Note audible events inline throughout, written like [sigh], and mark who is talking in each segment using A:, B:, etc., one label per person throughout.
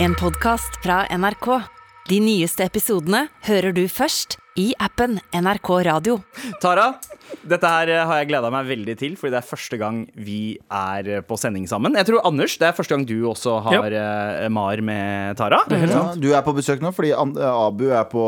A: En podcast fra NRK. De nyeste episodene hører du først i appen NRK Radio.
B: Tara, dette her eh, har jeg gleda meg veldig til, fordi det er første gang vi er eh, på sending sammen. Jeg tror, Anders, det er første gang du også har eh, MAR med Tara.
C: Ja, du er på besøk nå fordi An eh, Abu er på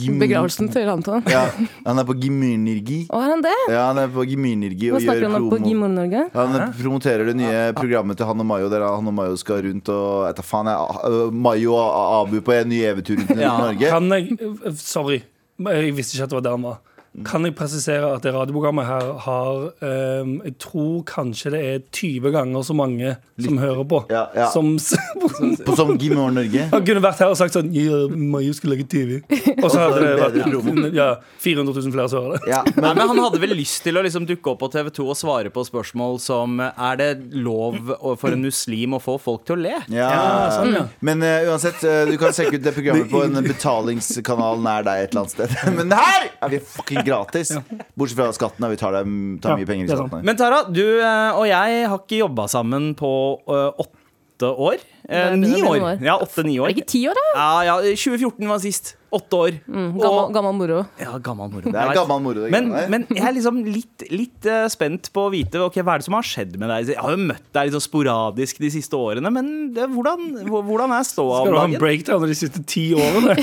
C: gim-
D: Begravelsen til Anton.
C: Ja, han er på Gimynergi.
D: Å, er han det?
C: Ja, han er på Gimynergi
D: Hva
C: og gjør
D: snakker han om på Ah,
C: promo.
D: Gimon Norge?
C: Han promoterer det nye programmet til Han og Mayo, der Han og Mayo skal rundt og Jeg vet da faen, jeg, uh, Mayo og Abu på en ny eventyr rundt i
B: Ja,
C: Norge.
E: Kan jeg Sorry, jeg visste ikke at det var der han var. Kan jeg presisere at det radioprogrammet her har eh, Jeg tror kanskje det er 20 ganger så mange som hører på.
C: Ja, ja.
E: Som, [laughs] som
C: På som Gimor Norge.
E: [laughs] han kunne vært her og sagt sånn Ja, Mayu skal lage
D: [laughs]
E: TV. Og så hadde det
C: bedre promo.
E: vært ja, 400 000 flere som hører det.
C: Ja,
B: Nei,
C: men
B: men Han hadde vel lyst til å liksom dukke opp på TV 2 og svare på spørsmål som eh, Er det lov å- for en muslim å få folk til å le?
C: ja.
E: sånn,
C: Men eh, uansett, eh, du kan sjekke ut det programmet på en betalingskanal nær deg et eller annet sted. [laughs] Men her er vi fucking gratis! Bortsett fra skatten, da. Vi tar, dem, tar
E: Ja,
C: mye penger i
E: det er sant.
C: skatten. her.
B: Men Tara, du eh, og jeg har ikke jobba sammen på eh, åtte år. Eh,
D: Det er
B: Ni
D: noen
B: år.
D: år.
B: Ja, åtte-ni
D: Er
B: år.
D: det ikke ti år, da?
B: Ja, ja, 2014 var sist. Åtte år.
D: Gammel, gammel moro.
B: Ja, gammel moro.
C: Det er
B: Jeg vet.
C: gammel moro. det
B: Men,
C: greiene der.
B: men jeg er liksom litt, litt eh, spent på å vite ok, hva er det som har skjedd med deg. Jeg har jo møtt deg litt sånn sporadisk de siste årene, men det, hvordan, hvor- hvordan er ståa
E: Skal
B: om
E: du ha en
B: dagen?
E: breakdown av de siste ti
C: [laughs]
E: årene?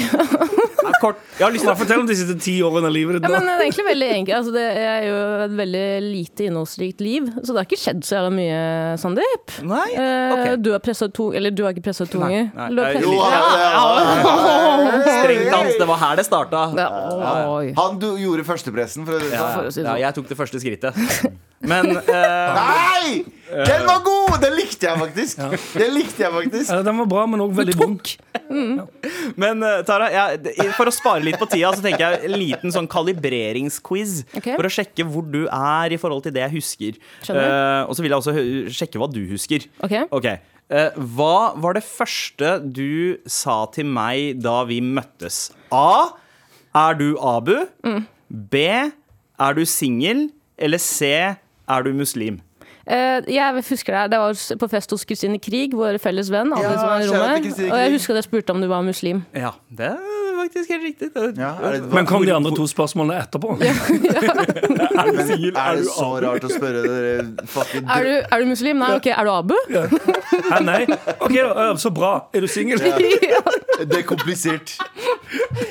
B: Ja, kort, jeg har lyst til å
E: Fortell om de siste ti årene av livet
D: Ja,
E: ditt.
D: men eh,
E: nå.
D: det er egentlig veldig enkelt. Altså, det er jo et veldig lite innholdsrikt liv, så det har ikke skjedd så jævla mye, Sandeep.
B: Nei?
D: Eh,
B: Ok.
D: Du har pressa to Eller du har ikke pressa to ganger.
B: Nei, Eh,
D: Du har
B: jeg-
D: presset-
C: Jo, ja, ja, ja.
B: Strengt tatt, det var her det starta.
D: Ja, oi.
C: Han du gjorde førstepressen, for å si det sånn.
D: for å si det
B: Ja,
D: sånn.
B: jeg tok det første skrittet. Men eh,
C: Nei! Den var god! Den likte jeg faktisk. Den likte jeg faktisk
E: Ja, den var bra, men òg veldig vond.
B: Men eh, Tara, jeg, d- for å spare litt på tida, så tenker jeg en liten sånn kalibreringsquiz.
D: Ok.
B: For å sjekke hvor du er i forhold til det jeg husker.
D: Skjønner.
B: Eh, og så vil jeg også hø- sjekke hva du husker.
D: Ok.
B: Eh, hva var det første du sa til meg da vi møttes? A. Er du Abu?
D: Mm.
B: B. Er du singel? Eller C. Er du muslim?
D: Eh, jeg husker det her. Det var på fest hos Kristine Krig, vår felles venn. Alle
C: Ja,
D: som var i
C: kjære til
D: rommet.
C: Christine
D: Og jeg
C: Grieg.
D: husker at jeg spurte om du var muslim.
B: Ja, det er faktisk helt riktig. Det-
C: ja, er, det,
E: Men kom de andre to spørsmålene etterpå? [laughs]
C: men er det så rart å spørre dere fucking
D: Er du, er du muslim? Nei, ok. Er du abu?
E: Hæ, nei? OK, da. øh, Så bra. Er du singel?
C: Det er komplisert.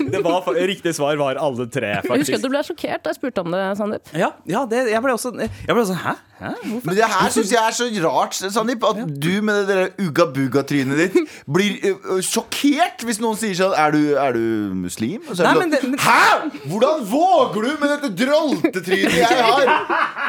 B: det var, fa- riktig svar var alle
D: [laughs]
B: tre,
D: Jeg
B: faktisk.
D: husker at du ble sjokkert da jeg spurte om det, Sandeep.
B: Ja, ja det, jeg ble også jeg ble også, Hæ? Hæ? Hvorfor?
C: Men det her syns jeg er så rart, Sandeep, at du med det der ugga-bugga-trynet ditt blir ø, ø, sjokkert hvis noen sier sånn Er du, er du muslim? Og så
B: Nei,
C: er
B: men
C: det
B: det-
C: sånn
B: men-
C: Hæ?! Hvordan våger du med dette droltetrynet jeg har?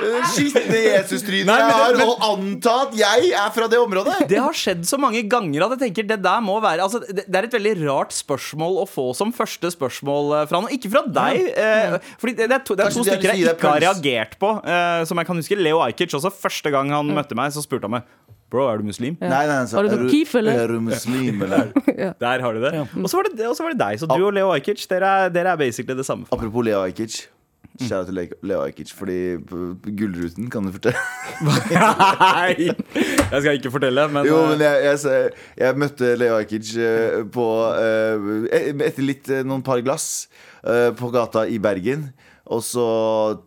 C: Det Skitne Jesus-trynet
B: Nei, men
C: jeg
B: det-
C: har,
B: men-
C: og anta at jeg er fra det området?
B: Det har skjedd så mange ganger at jeg tenker det der må være altså, det, det er et veldig rart spørsmål å få som første spørsmål eh, fra noen. Ikke fra deg. Eh, fordi det, det er to, det er to
C: Kanskje de har lyst til
B: stykker
C: å gi
B: jeg
C: deg
B: ikke har
C: puls.
B: reagert på, eh, som jeg kan huske. Leo Ajkic også. Første gang han
C: Mm.
B: møtte meg, så spurte han meg Bro, er du muslim?
C: Nei, nei, altså,
D: Har du
C: er
D: noen kif, eller?
C: Er du muslim, eller?
B: Der har du det. Og så var det, og så var det deg. Så du og Leo Ajkic, dere, er- dere er basically det [laughs] samme. For.
C: Apropos Leo Ajkic. Kjære til Le- Leo Ajkic, fordi p- Gullruten, kan du fortelle?
B: Nei! Jeg skal ikke fortelle, men,
C: Jo,
B: eh,
C: men jeg, jeg, sa- jeg møtte Leo Ajkic eh, på eh, Etter litt eh, noen par glass eh, på gata i Bergen. Og så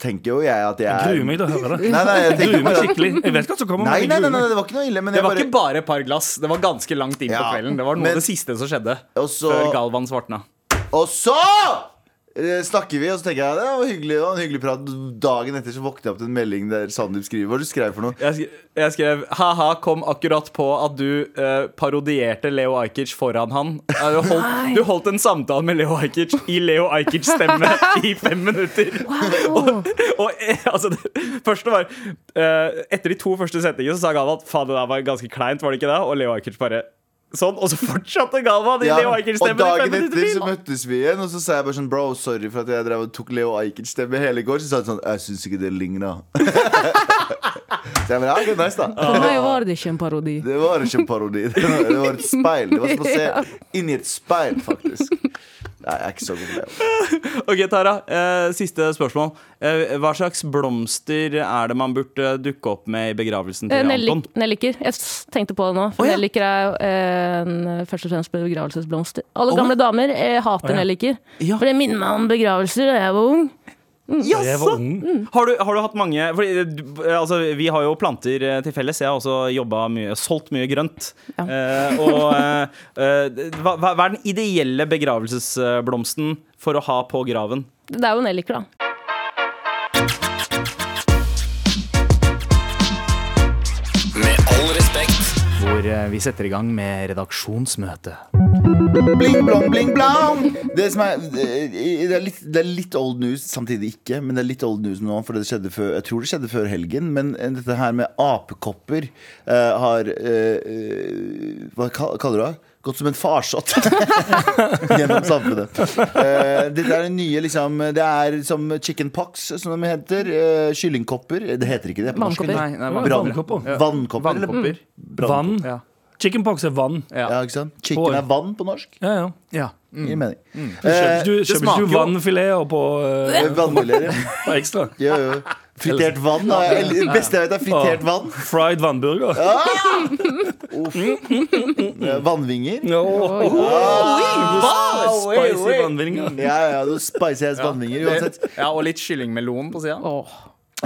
C: tenker jo jeg at jeg er
E: Gruer meg til å høre det.
C: Nei, nei, jeg tenker
E: Gruer meg
C: bare at-
E: skikkelig. Jeg vet hva som kommer.
C: Nei,
E: men
C: nei,
E: jeg
C: nei,
E: gruer
C: nei,
E: meg.
C: det var ikke noe ille. Men
B: Det
C: jeg
B: var
C: bare
B: ikke bare et par glass. Det var ganske langt inn
C: Ja,
B: på kvelden. Det var noe av
C: men-
B: det siste som skjedde
C: Og så-
B: før Galvan svartna.
C: Og så eh, snakker vi, og så tenker jeg det var hyggelig, det var en hyggelig prat. Dagen etter så våkner jeg opp til en melding der Sandeep skriver hva du skrev for noe.
B: Jeg, sk- jeg skrev ha-ha, kom akkurat på at du eh, parodierte Leo Ajkic foran han. Eh, Du holdt, du holdt en samtale med Leo Ajkic i Leo Ajkics [laughs] stemme i fem minutter.
D: Wow.
B: Og eh, altså, det første var eh, Etter de to første setningene så sa Galvan at faen, det der var ganske kleint, var det ikke det? Og Leo Ajkic bare sånn. Og så fortsatte Galvan i
C: Ja,
B: Leo Ajkics
C: og
B: stemme i
C: dagen
B: fem minutter
C: etter så
B: til.
C: møttes vi igjen, og så sa jeg bare sånn Bro, sorry for at jeg drev og tok Leo Ajkic stemme hele går. Så sa han sånn Jeg syns ikke det ligna. [laughs] så jeg bare, ja, ok, nice da
D: For meg var det ikke en parodi.
C: Det [laughs]
B: [laughs]
C: var ikke en parodi. Det var, det var et speil. Det var som å se inn i et speil, faktisk. Jeg er ikke så god på det.
F: Ok, Tara. eh, siste spørsmål. Eh, hva slags blomster er det man burde dukke opp med i begravelsen
D: Eh,
F: til Anton?
D: nellik- Nelliker. Jeg s- tenkte på det nå. For
F: Å, ja.
D: Nelliker er eh, en, først og fremst begravelsesblomster. Alle
F: Å.
D: gamle damer eh,
E: Å,
D: hater
E: ja.
D: nelliker.
F: Ja.
D: For det minner meg om begravelser da jeg var ung.
E: Da jeg var ung.
F: Har du, har du hatt mange fordi, du- altså, Vi har jo planter eh, til felles. Jeg har også jobba mye, solgt mye grønt.
D: Ja.
F: Eh, og eh, eh, hva, hva hva er den ideelle begravelsesblomsten for å ha på graven?
D: Det er jo nelliker, da.
G: Med all respekt.
F: Hvor eh, vi setter i gang med redaksjonsmøte.
C: Bling, blong, bling, blong! Det, som er, det, er litt, det er litt old news, samtidig ikke. Men det er litt old news nå, for det skjedde før, jeg tror det skjedde før helgen. Men eh, dette her med apekopper eh, har eh, eh, Hva kal- kaller du det? Gått som en farsott [laughs] gjennom samfunnet. Eh, dette er den nye, liksom Det er som chicken pox, som de heter. eh, kyllingkopper. Det heter ikke det på norsk.
D: Vannkopper.
F: Nei, nei,
E: Ja,
C: Brann-
E: vannkopper.
C: Vannkopper. eller
F: Vannkopper.
E: Vann.
C: brannkopper?
F: Ja.
E: Chickenpox er vann.
C: Ja, ikke sant? Chicken er vann på norsk.
E: Ja, ja.
F: Ja. Eh,
C: Gir mening.
E: Kjøper ikke du, kjøper ikke
F: smaker
E: du
F: jo-
E: vannfileter på, eh,
C: Eh, Vannmelere.
E: på ekstra?
C: Jo, jo. Fritert vann. da. Eller, Det beste jeg vet, er fritert vann.
E: Fried vannburger.
C: Eh, Vannvinger.
E: No.
F: Wow, oi,
E: Spicy
F: oi.
E: vannvinger.
C: Ja, ja, du spicy ass vannvinger uansett.
F: Ja, og litt kyllingmelon på sida.
D: Åh.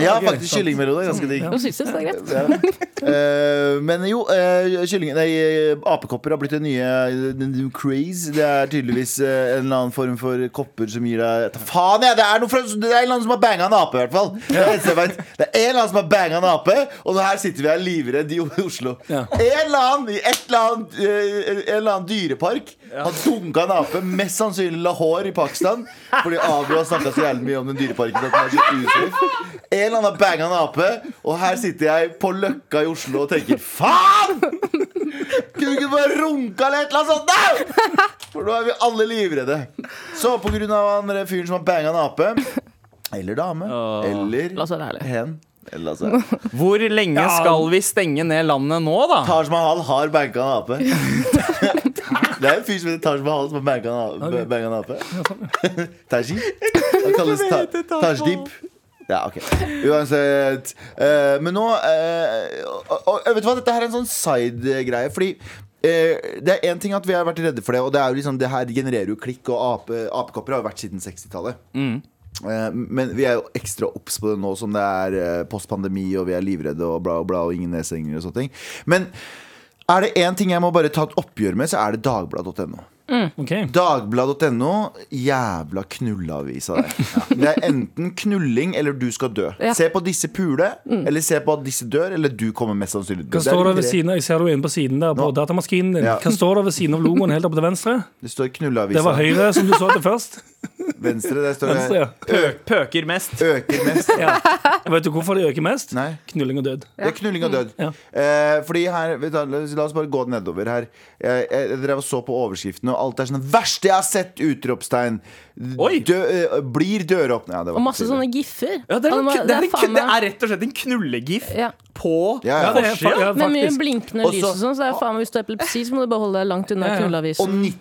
C: Ja, faktisk kyllingmelodi. Ganske digg.
D: Nå synes jeg det er greit.
C: Eh, men jo, eh, kylling, nei, eh, apekopper har blitt en nye the new craze. Det er tydeligvis eh, en eller annen form for kopper som gir deg Ta Faen, jeg! Det er, noe fra, det er en eller annen som har banga en ape, i hvert fall. Det er det eneste jeg vet. Det er en eller annen som har banga en ape, og nå her sitter vi her livredd i O- i Oslo.
E: Ja.
C: En eller annen i et eller annet, eh, en eller annen dyrepark har dunka en ape, mest sannsynlig Lahore i Pakistan, fordi Abu har snakka så jævlig mye om den dyreparken at den er litt usafe. En eller annen har banga en ape, og her sitter jeg på Løkka i Oslo og tenker faen! Kunne vi ikke bare runka eller et eller annet sånt? da? For nå er vi alle livredde. Så på grunn av han der fyren som har banga en ape, eller dame, eller
D: La oss være ærlige.
C: hen eller altså,
F: Hvor lenge
E: Ja.
F: skal vi stenge ned landet nå, da?
C: Taj Mahal har banka en ape. Det er en fyr som heter Taj Mahal som har banka en ape. Banka en ape. Taji? Han kalles ta Tajdeep. Ja, ok. Uansett. eh, men nå eh, og, og, Vet du hva, dette her er en sånn side-greie. Fordi eh, det er én ting at vi har vært redde for det, og det, er jo liksom, det her genererer jo klikk, og ape, apekopper har jo vært siden 60-tallet. Eh, Men vi er jo ekstra obs på det nå som det er eh, postpandemi, og vi er livredde og bla, og bla, og ingen nedstengninger og sånne ting. Men er det én ting jeg må bare ta et oppgjør med, så er det dagblad.no.
E: Ah, Ok.
C: Dagblad.no, jævla knullavis av deg. Det er enten knulling eller du skal dø.
D: Ja. Mm.
C: Se på disse pule, eller se på at disse dør, eller du kommer mest sannsynlig til å
E: Hva
C: dø.
E: står det
C: er de
E: ved
C: tre.
E: siden av? Jeg ser du er inne på siden der på
C: Nå.
E: datamaskinen din.
C: Ja.
E: Hva står det ved siden av logoen helt oppe til venstre?
C: Det står
E: Det var
C: knullavis.
E: høyre, som du så til først.
F: [laughs]
C: Venstre, der står
E: Venstre,
C: det
E: ja.
F: Pøker mest.
C: øker mest.
E: ja. Vet du hvorfor det øker mest?
C: Nei.
E: Knulling og død.
C: Det er knulling og død.
E: Ja.
C: Eh, fordi her, vet du, hva, La oss bare gå nedover her. Jeg, jeg, jeg drev og så på overskriftene, og alt er sånn 'Verste jeg har sett!' utropstegn.
F: Oi.
C: Dø, eh, blir døråpne. Ja, det var
D: Og
C: ikke
D: masse
C: så ille.
D: sånne giffer.
F: Ja, det, er en,
D: Altså,
F: det, er en,
D: faen
F: det
D: meg-
F: er rett og slett en knullegif
D: Ja.
F: på
C: Ja, ja.
E: Ja, det er fa- ja,
D: Med mye
E: faktisk.
D: blinkende
C: Og
D: lys
C: så-
D: og sånn, så det er faen meg hvis du har epilepsi, så må du bare holde deg langt unna
E: Ja, ja.
C: Og
D: knulleavisen.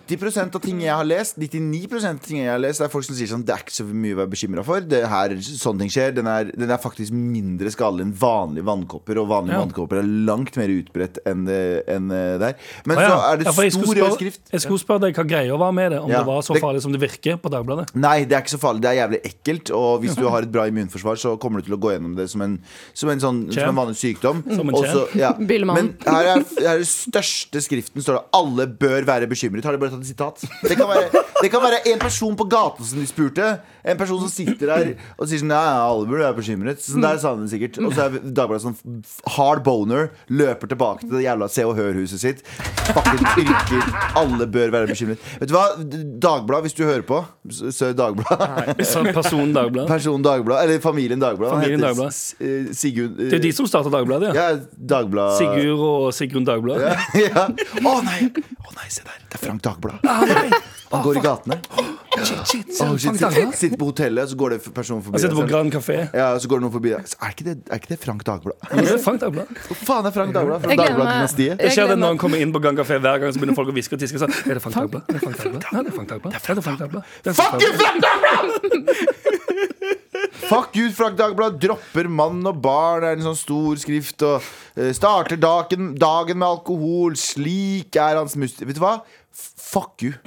C: 90 av ting jeg har lest, 99 av ting jeg har lest, det er folk som sier sånn Det er ikke så mye å være bekymra for. Det her, sånne ting skjer. Den er, den er faktisk mindre skadelig enn vanlige vannkopper, og vanlige
E: Ja.
C: vannkopper er langt mer utbredt enn det- enn det der. Men
E: Å, ja.
C: så er det
E: Ja, for jeg skulle
C: stor
E: spørre-
C: overskrift.
E: Jeg skulle spørre deg hva greia var med det, om
C: Ja.
E: det var så
C: Det-
E: farlig som det virker på Dagbladet.
C: Nei, det er ikke så farlig. Det er jævlig ekkelt. Og hvis du har et bra immunforsvar, så kommer du til å gå gjennom det som en, som en, sånn, som
E: Champ.
C: en vanlig sykdom.
E: Som en
C: Og så- ja.
D: Byllemann.
C: Men her er, her er den største skriften står det 'Alle bør være bekymret'. Har de bare tatt et sitat? Det kan være, det kan være en person på gaten som de spurte. En person som sitter der og sier sånn 'Ja, ja, alle burde være bekymret'. Så der sa han det sikkert. Og så er Dagbladet sånn hard boner, løper tilbake til det jævla Se og Hør-huset sitt. Fucking yrker. Alle bør være bekymret. Vet du hva? Dagbladet, hvis du hører på, sør Dagbladet
E: [laughs] Sånn Person Dagbladet.
C: Personen Dagblad, eller Familien Dagblad Han
E: Familien
C: heter
E: Dagblad.
C: S- eh, Sigurd eh,
E: Det er de som starta Dagbladet, ja.
C: Ja, Dagblad
E: Sigurd og Sigrun Dagblad.
D: Ah,
C: Ja. Å nei, Å nei, se der Det er Frank Dagblad Han går i gatene
E: [laughs] Shit, shit,
C: Oh, shit,
E: shit,
C: sitt,
E: shit.
C: sitt på hotellet, så går det personen forbi.
E: Jeg sitter på
C: deg.
E: Grand Café.
C: ja, så går det noen forbi deg. Så Er ikke det, er ikke det Frank Dagblad?
E: Det er Frank Dagblad.
C: Hva faen er Frank Dagblad? Fra
D: Jeg gleder meg.
C: Dagbladet-dynastiet?
E: Jeg
D: Jeg
E: skjer det
D: gleder
E: når
D: meg.
E: han kommer inn på Grand Café hver gang, så begynner folk å hviske og tiske. og sånn, Er det Frank Dagblad? Er det Frank Dagblad? Ja, det er Frank Dagblad. Ja, det er Frank Dagblad. Det er Frank
C: Fuck you,
E: Dagblad.
C: Frank Dagblad! Fuck you, Frank Dagblad dropper mann og barn, er en sånn stor skrift. Og eh, starter dagen, dagen med alkohol. Slik er hans muster... Vet du hva? F- Fuck you.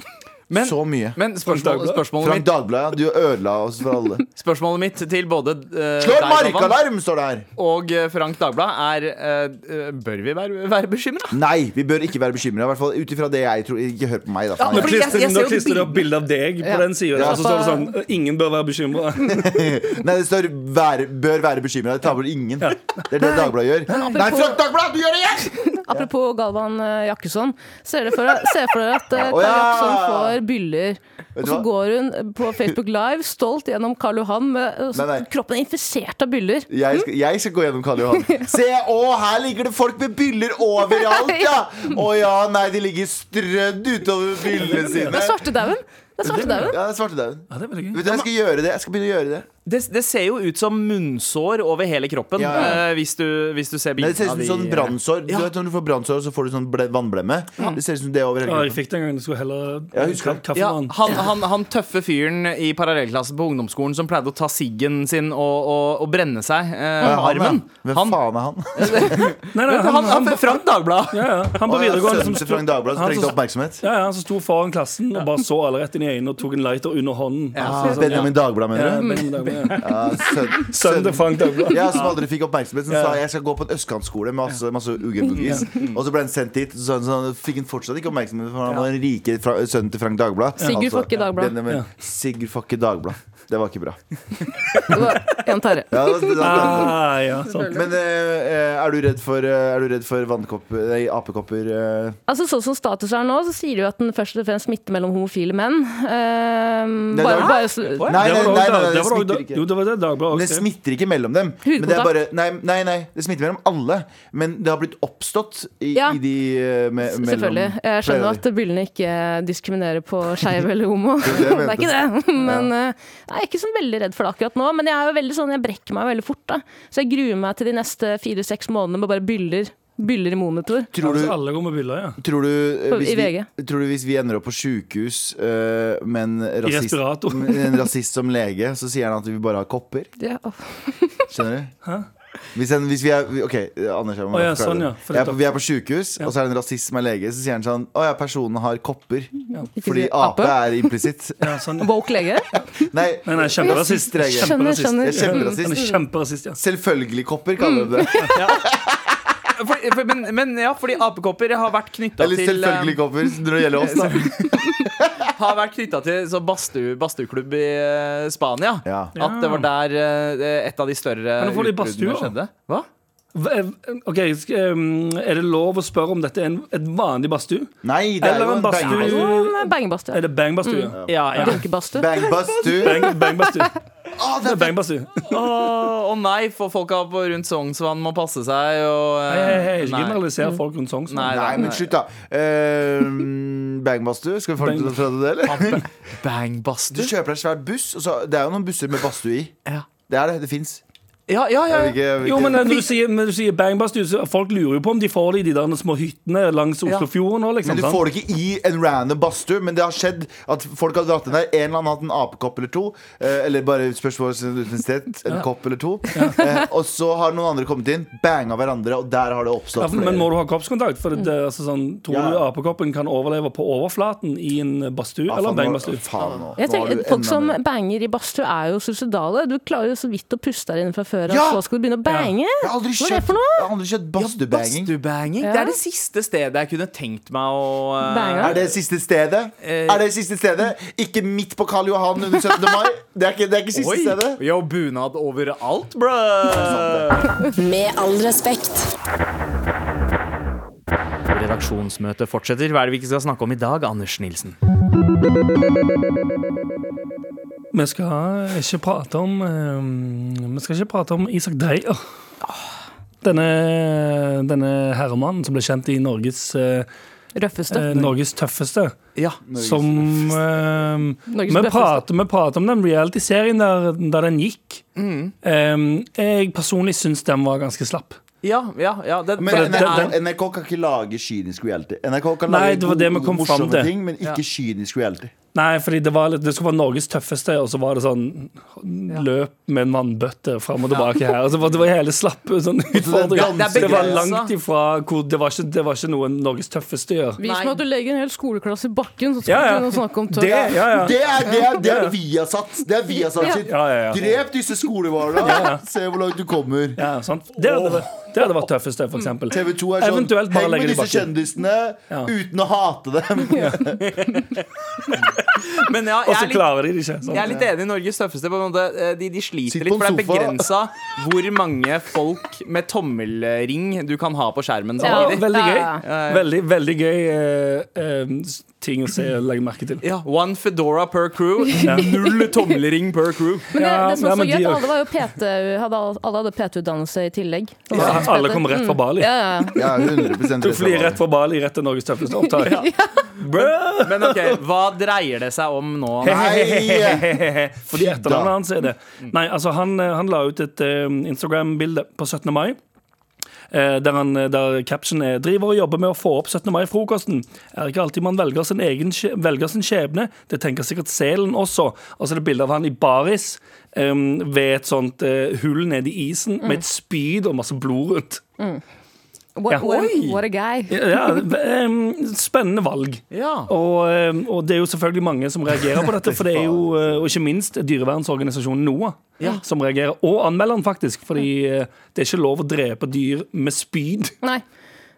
F: Men-
C: Så mye.
F: Men spørsmål,
E: Dagblad.
F: spørsmålet,
C: Frank
F: mitt,
C: Dagbladet, ja, du ødela oss for alle.
F: spørsmålet mitt til både eh,
C: Slå
F: deg,
C: en
F: Galvan,
C: markalarm, står det her!
F: og eh, Frank Dagblad er eh, eh, Bør vi være, være bekymra?
C: Nei, vi bør ikke være bekymra. Ut ifra det jeg tror. Ikke hør på meg,
E: Nå
C: da. faen.
A: men- Fordi jeg-
E: klistrer
A: jeg ser
E: nå
A: jo
E: klistrer du opp bilde av deg på den sida. Og så står det sånn Ingen bør være bekymra.
C: Nei, det står være, 'bør være bekymra'. Det tar vel ingen. Det er det Dagbladet gjør. Nei, Frank Dagbladet, du gjør det igjen!
D: Apropos Galvan eh, Jakkesson. Se for dere se for dere
C: [laughs]
D: at eh,
C: Å,
D: Kari
C: ja!
D: Jakkesson får byller. Og
C: du
D: så
C: hva?
D: går hun eh, på Facebook Live stolt gjennom Karl Johan med eh,
C: Nei, nei.
D: kroppen er infisert av byller.
C: Jeg skal, jeg skal gå gjennom Karl Johan. Se, å, her ligger det folk med byller overalt, ja! Å ja, nei, de ligger strødd utover byllene
D: Det
C: sine.
D: er svartedauden! Det er svartedauen.
C: Ja, det er svartedauen.
E: Ja, det er veldig gøy.
C: Vet du, jeg skal gjøre det. Jeg skal begynne å gjøre det.
F: Det, det ser jo ut som munnsår over hele kroppen
C: Ja, ja.
F: eh, hvis, du, hvis du ser
C: Nei,
F: bildene.
C: det ser ut som sånn brannsår. Du vet Når du får brannsår, så får du sånn ble, vannblemme. Det ser ut som det over hele
E: Ja, jeg
C: kroppen.
E: fikk det en gang. Du skulle heller
C: Jeg husker det.
E: kaffe
F: Ja,
E: med han.
F: han, han, han tøffe fyren i parallellklassen på ungdomsskolen som pleide å ta siggen sin og, og, og brenne seg eh, armen.
C: ja. Hvem
F: Han,
C: faen er han?
E: Nei, nei,
F: han,
E: han, han,
F: Frank Dagblad.
E: ja, ja. han på
C: Å, ja,
E: videregående som
C: Sønnen til
E: sto-
C: Frank Dagbladet som
E: liksom han som-
C: trengte oppmerksomhet.
E: Ja, ja, han som sto foran klassen og bare så alle rett inn i øynene og tok en lighter under hånden.
C: Ah, Benjamin Dagblad, mener du?
E: Sønnen
C: Ja, [laughs] sønn-
E: til
C: sønn-
E: Frank
C: [laughs]
E: Dagblad.
C: Ja, som aldri fikk oppmerksomhet. Som sa jeg skal gå på en østkantskole med masse, masse ugerbugis. Og så ble han sendt dit, så, så han fikk han fortsatt ikke oppmerksomhet. For han var den rike fra, sønnen til Frank Dagblad.
D: Sigurd Fokke Dagblad.
C: denne med Sigurd Fokke Dagblad. Det var ikke bra.
D: Det var Jan Terje.
C: Ja, det, det, det,
E: Ah, ja, sant.
C: men eh, er du redd for, eh, er du redd for vannkopper Nei, apekopper? eh?
D: Altså, sånn som status er nå, så sier de jo at den først og fremst smitter mellom homofile menn. Ehm,
C: Nei,
D: bare,
C: det var-
D: bare, så-
C: Nei, nei,
E: Det var
C: nei, nei,
E: da-
C: nei, det
E: det var da-
C: smitter ikke.
E: Jo, det var det Dagbladet
C: Det
E: også.
C: smitter ikke mellom dem. Men det, er bare,
D: Hudkontakt.
C: nei, nei, nei, det smitter mellom alle. Men det har blitt oppstått i,
D: Ja.
C: i de eh, me, mellom
D: selvfølgelig. Jeg skjønner
C: flere av de.
D: at byllene ikke diskriminerer på skeiv eller
C: er
D: homo.
C: [laughs] det
D: Det
C: jeg
D: er
C: mente.
D: ikke det. [laughs] Men eh, jeg er ikke sånn veldig redd for det akkurat nå. Men jeg er jo veldig sånn, jeg brekker meg veldig fort. da Så jeg gruer meg til de neste fire-seks månedene med bare byller. Byller i monitor.
C: Tror du,
E: Altså, alle går med byller, ja.
C: Tror du, eh,
D: På-
C: hvis
D: i VG.
C: vi, tror du hvis vi ender opp på sjukehus eh, med en rasist,
E: respirator.
C: [laughs] med en rasist som lege, så sier han at vi bare har kopper?
D: Ja.
C: Skjønner du? Hvis, en, hvis vi er vi- OK, Anders. Jeg må
E: Å ja,
C: forklare
E: sånn,
C: det.
E: ja. For
C: Jeg er
E: det-
C: på, vi er på sjukehus, og så er det en rasist som er lege. Så sier han sånn Å ja, personen har kopper.
D: Ikke
C: Fordi
D: si ape.
C: ape er implisitt.
E: ja sånn.
D: Woke
C: [laughs]
D: lege?
C: Nei,
E: Nei, nei, kjemperasist.
C: Rasist, jeg.
D: Skjønner, skjønner.
C: jeg er
E: Han er
C: kjemperasist.
E: kjemperasist, ja.
C: Selvfølgelig kopper, kaller de det.
F: [laughs] For, for, men, men ja, fordi apekopper har vært knytta
C: Eller
F: til eh,
C: selvfølgelig kopper, når det gjelder oss,
B: [laughs]
C: da.
F: [laughs] Har vært knytta til så badstue- badstueklubb i eh, Spania.
C: Ja.
F: At det var der eh, et av de større
E: Men nå får de badstue, da.
F: skjedde. Hva?
E: V- eh, Ok, sk- um, Er det lov å spørre om dette er en, et vanlig badstue?
C: Nei, det er jo
E: Eller en
C: en
E: badstue
C: bangbadstue.
E: Er
D: Mm, Bangebadstue.
E: det bangbadstue? ja?
F: Ja, ja.
D: Dunkebadstue.
C: Bangbadstue.
E: Bang- Bangbadstue.
C: Å,
E: Det
C: det
E: er
C: er
E: bangbadstue.
F: [laughs] Å å nei, for folka på rundt Sognsvann må passe seg og eh,
E: Hei, hei, hei, ikke
F: nei.
E: generaliser folk rundt sånn. sånn.
F: Nei,
C: Nei, men slutt, da. Uh, Bangbadstue, skal vi fortsette fra det, eller?
F: Bang
C: Du
F: badstue.
C: kjøper deg en svær buss. Og så, det er jo noen busser med badstue i.
F: Ja.
C: Det er det. Det fins.
F: Ja, ja, ja.
E: Jo, men når du sier, når du sier bangbadstue, så folk lurer jo på om de får det i de der små hyttene langs Oslofjorden nå, liksom.
C: men du
E: sant?
C: får det ikke i en random badstue, men det har skjedd at folk har dratt inn der. En eller annen har hatt en apekopp eller to, eh, eller bare spørsmål om identitet. En kopp eller to. Eh, og så har noen andre kommet inn, banga hverandre, og der har det
E: Ja,
C: oppstått
E: for- men må
C: flere.
E: du ha kroppskontakt? For det, det, er altså sånn, tror
C: Ja.
E: du apekoppen kan overleve på overflaten i en eh, badstue
C: Ja,
E: eller
C: faen,
E: en
C: nå-
E: bangbadstue?
C: faen, nå-
D: Jeg
C: nå har
D: tenker,
C: du
D: folk
C: enda
D: som
C: mer.
D: banger i badstue, er jo suicidale. Du klarer jo så vidt å puste der inne fra før, og
C: Ja!
D: så skal du begynne å bange.
C: Jeg har aldri
D: Hva er det
C: kjøpt,
D: for noe?
C: jeg har aldri kjøpt badstuebanging.
F: Badstuebanging.
D: Ja.
F: Det er det siste stedet jeg kunne tenkt meg å eh,
D: Banga.
C: Er det siste stedet?
E: Eh,
C: Er det siste stedet? Ikke midt på Karl Johan under 17. mai. Det er ikke, det er ikke siste
F: Oi!
C: stedet.
F: Yo, bunad overalt, brø!
A: Med all respekt.
F: Redaksjonsmøtet fortsetter. Hva er det vi ikke skal snakke om i dag, Anders Nilsen?
E: Vi skal ikke prate om eh, Vi skal ikke prate om Isak Dreyer. Denne, denne herremannen som ble kjent i Norges eh,
D: Røffeste.
E: eh, Norges tøffeste.
B: Ja.
E: Som eh,
D: Norges
E: vi,
D: bøffeste.
E: prater, vi prater om den reality-serien der, der den gikk.
C: Mm.
E: Eh, jeg personlig syns den var ganske slapp.
B: Ja, ja, ja. Det,
C: Men
B: for det, det,
C: NRK, NRK kan ikke lage kynisk reality. NRK kan
E: Nei,
C: lage
E: det var det vi kom fram til.
C: ting, men ikke kynisk reality.
E: Nei, fordi det, var litt, det skulle være Norges tøffeste, og så var det sånn løp med en vannbøtte fram og tilbake her. Altså, det var hele slappe sånn utfordringer.
B: det er
E: Det var
B: begrenset.
E: langt ifra hvor Det var ikke, det var ikke noe Norges tøffeste gjør.
D: Vi som
B: Nei.
D: måtte legge en hel skoleklasse i bakken, så skal
E: Ja,
D: vi
E: ja.
D: begynne å snakke om
E: Det,
D: tørr.
E: ja, ja.
C: Det er, det er, det er Viasat. Det er Viasat sitt.
E: Ja, ja, ja.
C: Drep disse skolebarna, se hvor langt du kommer.
E: ja sant. Det hadde, vært- det hadde vært tøffeste, for eksempel.
C: TV 2 er sånn
E: Eventuelt bare
C: Heng med
E: legge det
C: disse
E: i bakken.
C: kjendisene uten å hate dem.
E: [laughs]
B: men ja,
E: Og
B: jeg
E: så
B: er litt
E: klarer de det ikke.
B: Jeg er
E: Sant?
B: litt enig i Norges tøffeste. På en måte. Eh, De, de sliter
C: Sitt
B: litt,
C: på
B: for det er
C: sofa.
B: begrensa hvor mange folk med tommelring du kan ha på skjermen
E: Ja,
B: samtidig.
E: veldig gøy.
D: Ja,
E: Veldig, veldig gøy eh, eh, ting å se og legge merke til.
B: Ja, One Fedora per crew. [laughs] Null tommelring per crew.
D: Men det,
E: Ja,
D: det som
E: ja,
D: var så
E: men de
D: gøy, at
E: gjør-
D: alle var jo PT, hadde, alle hadde PT-utdannelse i tillegg. Mm.
E: Ja, alle kom rett fra Bali.
D: Ja, ja.
C: Ja, 100
E: Tok fly rett
C: resten av
E: fra Bali, rett til Norges tøffeste [laughs] opptak. Bruh!
B: Men OK, hva dreier det seg om nå?
C: Nei!
E: Fordi etternavnet hans er det. Nei, altså han, eh, han la ut et eh, Instagram-bilde på 17. mai. eh, Der, han, eh, der caption er 'Driver og jobber med å få opp 17. mai-frokosten'. Er ikke alltid man velger sin egen skje- velger sin skjebne. Det tenker sikkert selen også. Og så er det bilde av han i baris eh, ved et sånt eh, hull nede i isen med et spyd og masse blod rundt.
D: What,
E: Ja.
D: what,
B: Oi.
D: what a guy.
E: Ja, eh, spennende valg.
B: Ja.
E: Og, eh, og det er jo selvfølgelig mange som reagerer på
C: [laughs]
E: dette. For det er jo, eh, og ikke minst dyrevernsorganisasjonen NOAH som reagerer. Og anmelderen, faktisk. Fordi eh, det er ikke lov å drepe dyr med spyd.
D: Nei.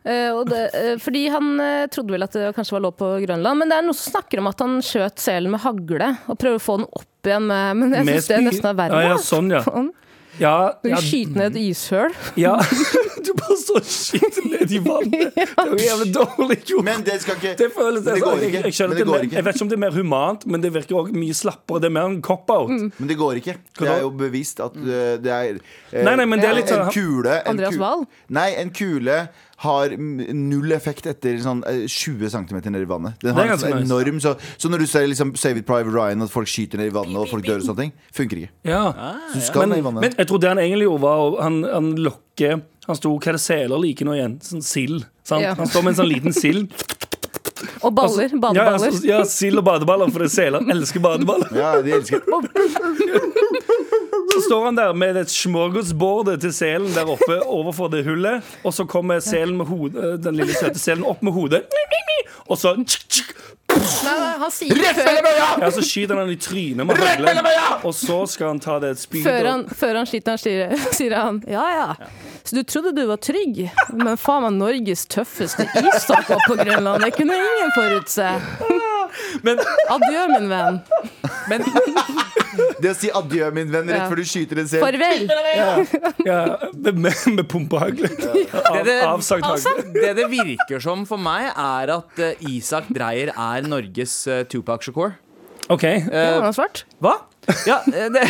D: Eh, og det, eh, fordi han eh, trodde vel at det kanskje var lov på Grønland, men det er noen som snakker om at han skjøt selen med hagle og prøver å få den opp igjen med Men jeg
E: Med
D: syns det
E: spyd.
D: nesten er
E: Ja,
D: verre.
E: ja,
D: da.
E: sånn, ja.
D: Faen.
E: Ja,
D: Du
E: ja,
D: skyter ned et ishøl.
E: ja. [laughs] Du bare står skitt ned i
C: [laughs]
E: vannet. Det er jo jævlig dårlig gjort.
C: Men det skal ikke
E: Det føles
C: Men det går
E: jeg,
C: ikke.
E: jeg, skjønner
C: Men det
E: at det er
C: går
E: mer-
C: ikke.
E: jeg vet ikke om det er mer humant, men det virker også mye slappere. Det er mer en cop-out.
C: Men det går ikke. Det er jo bevist at uh, det er eh,
E: Nei, nei, men det er litt
C: En
E: sånn-
C: kule en
D: Andreas
C: ku-
D: Wahl?
C: Nei, en kule har mm, null effekt etter sånn eh, 20 cm ned i vannet.
E: Det er
C: Den har en
E: ganske
C: sånn
E: nice.
C: enorm så, så når du ser liksom Save It Private Ryan, at folk skyter ned i vannet og folk dør og sånne ting, funker ikke.
E: Ja.
C: Du skal
E: men,
C: ned i vannet.
E: men jeg tror det han egentlig gjorde var å- Han, han lokker Han sto hva er det seler liker nå igjen? Sånn sild. sant?
D: Ja.
E: Han står med en sånn liten sild.
D: Og [laughs] baller.
E: Altså, Ja,
D: Badeballer.
E: ja, så- ja, sild og badeballer, for det er seler elsker
D: [laughs]
E: badeballer.
C: ja, de elsker
E: Så står han der med et smorgasbord til selen der oppe overfor det hullet, og så kommer selen med hodet, den lille søte selen opp med hodet, og så
D: Nei, nei, han sier det
C: Rett
D: før,
C: mellom øya!
E: ja, så skyter han han i trynet med
C: Rett mellom
E: haglen,
C: øya!
E: og så skal han ta det spydet
D: før,
E: og
D: han, før han skyter, han sier, [laughs] sier han ja ja. Så du trodde du var trygg, men faen meg Norges tøffeste istak var på Grønland. Det kunne ingen forutse.
B: Men
D: Adjø, min venn.
C: Det å si adjø, min venn, rett
D: Ja.
C: før du skyter en selv.
D: Farvel.
E: ja, med, med pumpehagle. Av,
B: det-
E: avsagt hagle.
B: det det virker som for meg, er at eh, Isak Dreyer er Norges eh, Tupac Shakur.
E: OK.
D: Ja, var han svart?
B: Hva? Ja, eh, det,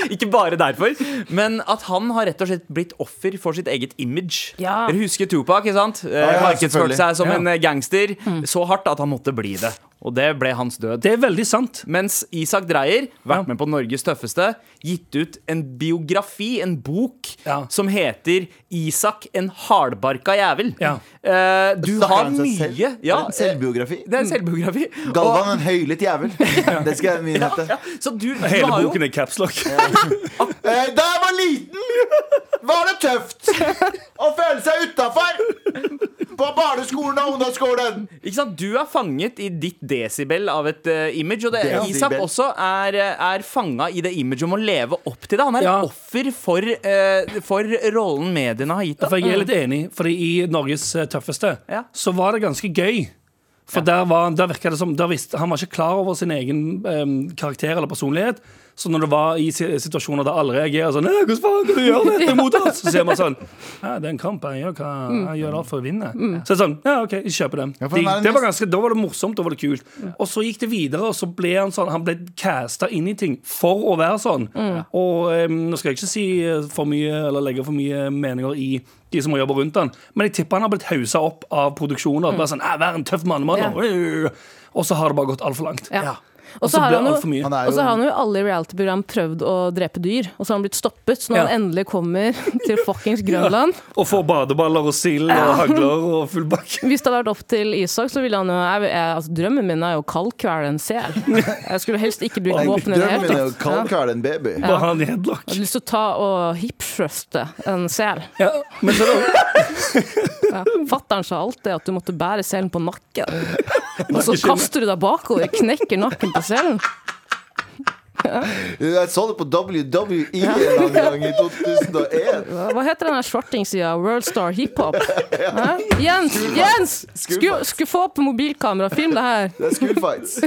B: [laughs] ikke bare derfor, men at han har rett og slett blitt offer for sitt eget image.
D: Ja.
B: Dere husker Tupac, ikke sant? Eh,
C: ja,
B: Markedsførte
C: selvfølgelig.
B: seg som
E: Ja.
B: en eh, gangster
E: Mm.
B: så hardt at han måtte bli det. Og det ble hans død.
E: Det er veldig sant.
B: Mens Isak Dreyer,
E: Ja.
B: vært med på Norges tøffeste, gitt ut en biografi, en bok,
E: Ja.
B: som heter 'Isak en hardbarka jævel'.
E: Ja.
B: Eh, du
C: Snakker
B: har
C: han seg selv?
B: mye
C: Det
B: ja, eh,
C: er en selvbiografi.
B: Det er en selvbiografi. Og,
C: Galvan, en høylytt jævel.
E: [laughs]
C: Det skal jeg min hete.
B: ja, så du, du
E: Hele
B: har jo
E: boken er capslock.
C: Eh, Da jeg var liten, var det tøft å føle seg utafor. På barneskolen og ungdomsskolen.
B: Ikke sant? Du er fanget i ditt desibel av et eh, image. Og det,
C: Desibel.
B: Isak også er, eh, er fanga i det imaget om å leve opp til det. Han er
E: Ja.
B: offer for, eh, for rollen mediene har gitt
E: For
B: ham.
E: jeg er
F: Mm.
E: litt enig, fordi i Norges eh, tøffeste
B: Ja.
E: så var det ganske gøy. For der, var, der virka det som der visste, Han var ikke klar over sin egen em, karakter eller personlighet. Så når det var i si- situasjoner der alle reagerer sånn «Nei, 'Hvordan faen kan du gjøre dette mot oss?' Så ser man sånn «Ja, 'Det er en kamp. Jeg gjør, hva, jeg gjør alt for å vinne.' Så det er sånn Ja, OK, jeg kjøper den.
C: Ja, for
E: De,
C: han er den
E: det var
C: mest-
E: ganske, Altså, da var det morsomt, da var det kult.
D: Mm.
E: Og så gikk det videre, og så ble han sånn Han ble casta inn i ting for
D: Mm.
E: å være sånn. Og em, nå skal jeg ikke si eh, for mye eller legge for mye meninger i de som må jobbe rundt han. Men jeg tipper han har blitt hausa opp av produksjoner.
D: Mm.
E: At bare sånn, «Æ, Vær en tøff mann, mann. Og så har det bare gått altfor langt.
D: Ja.
E: Og
D: Og
E: så
D: så har
E: blir
D: han
E: det
D: jo-
E: altfor mye.
C: Han er
D: Og så
C: jo-
D: har han jo i alle reality-program prøvd å drepe dyr, og så har han blitt stoppet. Så når
E: Ja.
D: han endelig kommer til fuckings Grønland
E: Og får badeballer og sild og hagler og full bakke.
D: Hvis det hadde vært opp til Isak, så ville han jo jeg, jeg, altså, Drømmen min er jo å kaldkvele en sel. Jeg skulle helst ikke bruke våpen i det
C: Drømmen
D: hele
C: min er jo
D: tatt. Ja.
C: kald kar en baby.
E: Bare han i
D: [laughs]
E: headlock.
D: Jeg hadde lyst til å ta og hipshrøfte en sel.
E: Ja. Men så er det
D: Fatter'n sa alltid at du måtte bære selen på nakken. Og så kaster du deg bakover, knekker nakken på selen.
C: Jeg så det på WWE en annen gang i
D: [laughs]
C: 2001.
D: Hva hva heter den der svartingsida? Worldstar hiphop? Hæ? Jens! Jens! Skru, skru få opp mobilkamera, film det her.
C: Det er school fights.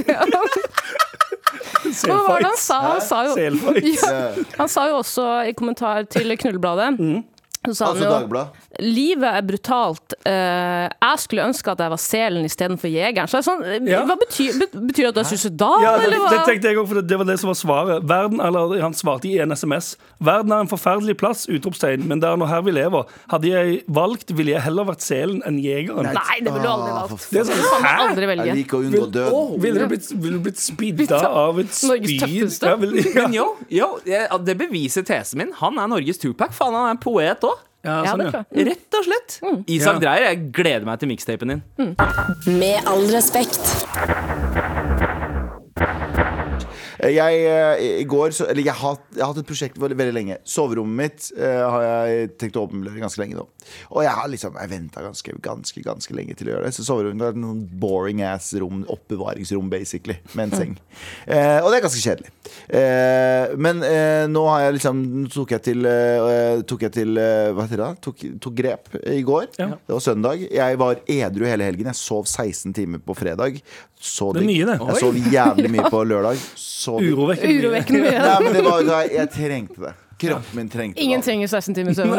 D: Hva var det han
E: selfights.
D: sa? Han sa jo
E: Selfights.
D: [laughs] Ja. Han sa jo også i kommentar til Knullebladet Så sa han
C: Altså
D: jo
C: Dagbladet.
D: livet er brutalt. Eh, jeg skulle ønske at jeg var selen istedenfor jegeren. Så jeg er sånn,
E: Ja.
D: hva betyr, bet- betyr det at du er suicidal,
E: Ja, det,
D: eller hva?
E: det tenkte jeg også, for det, det var det som var svaret. Verden, eller Han svarte i en SMS. Verden er en forferdelig plass, utropstegn, men det er nå her vi lever. Hadde jeg valgt, ville jeg heller vært selen enn jegeren.
D: Nei, det ville du aldri
C: Ah, for
D: valgt.
E: Det er
C: faen.
E: sånn,
D: Du kan
E: hæ?
D: aldri
C: Jeg
D: velge.
C: liker å
F: Vil-
C: unngå døden.
F: Åh,
E: Ville du blitt, ville du blitt
D: Blitt
E: spidda
D: tøff-
E: av et spyd?
D: Norges tøffeste.
E: Ja, vil, ja.
F: Men jo, jo, jeg- det beviser tesen min. Han er Norges Tupac. Faen, han er en poet òg.
E: Ja,
D: Ja,
E: sånn,
D: det
E: ja.
D: tror jeg.
F: Rett og slett. Isak
E: Ja.
F: Dreyer, jeg gleder meg til mixtapen din.
A: Med all respekt.
C: Jeg, eh, i går, så, eller jeg har, jeg har hatt et prosjekt veldig, veldig lenge. Soverommet mitt eh, har jeg tenkt å åpenbløre ganske lenge nå. Og jeg har liksom, jeg venta ganske, ganske ganske lenge til å gjøre det. Så soverommet har vært noen boring ass rom, oppbevaringsrom, basically, med en seng.
E: [laughs]
C: Eh, og det er ganske kjedelig. Eh, men eh, nå har jeg liksom nå tok jeg til, eh, tok jeg til eh, Hva heter det? da? Tok, tok grep i går. Det var søndag. Jeg var edru hele helgen. Jeg sov 16 timer på fredag. Så
E: Det er mye,
C: digg.
E: det.
C: Jeg sov jævlig mye på lørdag. Så digg.
E: Urovekkende. mye.
D: Urovekkende
C: [laughs]
D: mye.
C: Nei, men det var, nei, jeg trengte det. Kroppen min trengte
D: Ingen
C: det.
D: trenger 16 timer
C: [laughs]
D: søvn.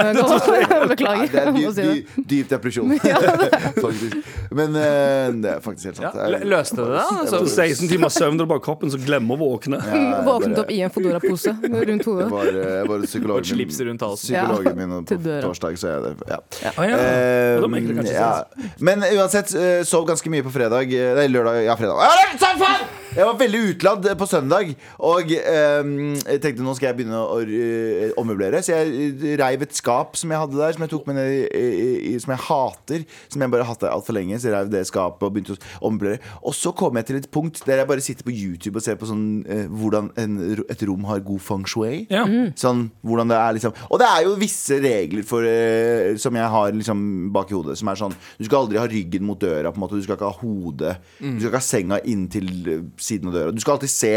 D: Beklager.
C: Nei, det er
D: jeg må
C: dyp,
D: si det.
C: dyp, dyp
D: [laughs]
C: depresjon. [laughs] faktisk. Men eh, det er faktisk helt sant.
F: Ja, lø- løste det det, altså?
E: Så 16 timer søvn og bare kroppen som glemmer å våkne.
D: Mm, Våknet opp i en Fodora-pose
C: [laughs] Jeg
D: rundt hodet.
C: var, eh, jeg var
F: Og et
C: psykologen min,
F: slips rundt halsen.
C: psykologen min og på
D: [laughs] Til døra.
C: torsdag, så jeg det. Ja.
E: Ah, ja.
C: Eh,
E: Da må jeg egentlig kanskje
C: ja. Men uansett, eh, sov ganske mye på fredag. eh, Nei, lørdag. Ja, fredag. Ja, det er sant, faen! Jeg var veldig utladd på søndag, og eh, jeg tenkte nå skal jeg begynne å eh, ommøblere. Så jeg eh, reiv et skap som jeg hadde der, som jeg tok med ned i, i, i Som jeg hater. Som jeg bare har hatt der altfor lenge. Så jeg reiv det skapet og begynte å ommøblere. Og så kom jeg til et punkt der jeg bare sitter på YouTube og ser på sånn eh, hvordan en, et rom har god feng shui.
E: Ja.
C: Sånn, hvordan det er liksom Og det er jo visse regler for, eh, som jeg har liksom bak i hodet, som er sånn Du skal aldri ha ryggen mot døra, på en måte. Du skal ikke ha hodet
E: Mm.
C: Du skal ikke ha senga inntil eh, siden av døra. Du skal alltid se.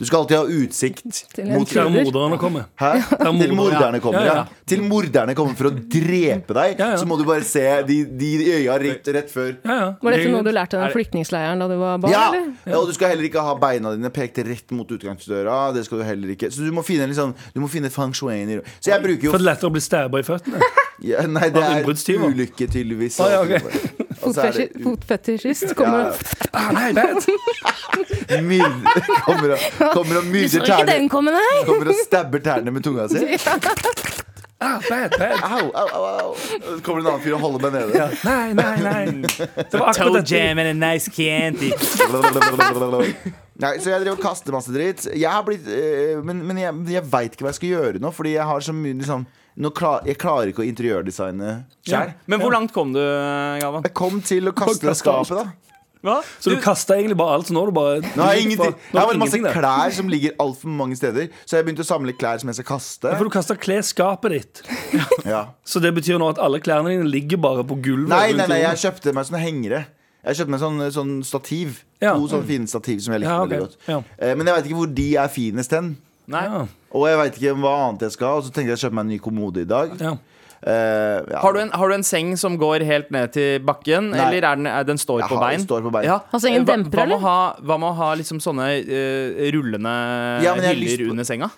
C: Du skal alltid ha
E: [laughs]
C: utsikt
D: Til en
C: mot
E: Der morderne kommer.
C: Hæ? Til
E: morderne-
C: morderne kommer,
E: Ja,
C: ja,
E: ja.
C: Til morderne kommer for å drepe deg,
E: Ja, ja.
C: så må du bare se de, de i øya rett, rett før.
E: Ja, ja.
D: Var dette noe du
E: Det-
D: lærte i den flyktningleiren da du var barn?
C: Ja!
D: eller?
C: ja, og du skal heller ikke ha beina dine pekt rett mot utgangsdøra. Det skal du heller ikke Så du må finne, liksom, du må finne feng shui-en i Så jeg bruker jo
E: For det er lettere å bli stabba i føttene.
C: Ja, nei, det
E: Av
C: er
E: innbruddstyver.
C: ulykke, tydeligvis.
E: Å, ja, ok.
C: Og så altså, er det
D: Fotfetisj- Fotfetisjist kommer og
E: Ah, Nei, vent.
C: ut- myrd- kommer, og, kommer og
D: Du
C: myrder
D: så ikke den
C: tærne.
D: komme, nei?
C: Kommer og stabber tærne med tunga si.
E: Ah, bad, bad.
C: Au, au, au. au. Så kommer det en annen fyr og holder meg nede.
E: Nei, nei, nei. Det var akkurat dette.
F: and a nice candy.
C: Nei, så jeg driver og kaster masse dritt. Jeg har blitt, eh, men men jeg, jeg veit ikke hva jeg skal gjøre nå, fordi jeg har så mye liksom, nå klar, Jeg klarer ikke å interiørdesigne
E: Ja.
C: sjøl.
F: Men hvor langt kom du, Galvan?
C: Jeg kom til å kaste det
E: Kaste alt.
C: skapet, da.
F: Hva?
E: Så du kasta egentlig bare alt, så nå har du bare
C: Nå har jeg ingenting.
E: Nå
C: Jeg
E: har
C: har
E: du
C: bare masse
E: ingenting der.
C: klær som ligger altfor mange steder, så jeg begynte å samle klær som jeg skal kaste.
E: Ja, For du kasta klesskapet ditt.
C: Ja.
E: Så det betyr nå at alle klærne dine ligger bare på gulvet?
C: Nei,
E: rundt
C: nei, nei,
E: i rommet.
C: jeg kjøpte meg sånne hengere. Jeg kjøpte meg sånn, sånn stativ.
E: Ja.
C: To sånne fine stativ som jeg likte
E: Ja, ok.
C: veldig godt.
E: Ja.
C: Eh, Men jeg veit ikke hvor de er finest hen.
F: Nei.
E: Ja.
C: Og jeg veit ikke hva annet jeg skal ha. Og så tenkte jeg å kjøpe meg en ny kommode i dag.
E: Ja.
C: Eh, ja.
F: Har du, en, har du en seng som går helt ned til bakken,
C: Nei.
F: eller er den, er den står,
C: Jeg
F: på
C: har-
F: bein?
C: står på bein.
F: Ja.
D: Har sengen
F: Eh, hva-
D: demper,
F: hva med å
D: eller?
F: ha- Hva med å ha liksom sånne eh, rullende
C: Ja, men jeg har lyst
F: hyller
C: på-
F: under senga?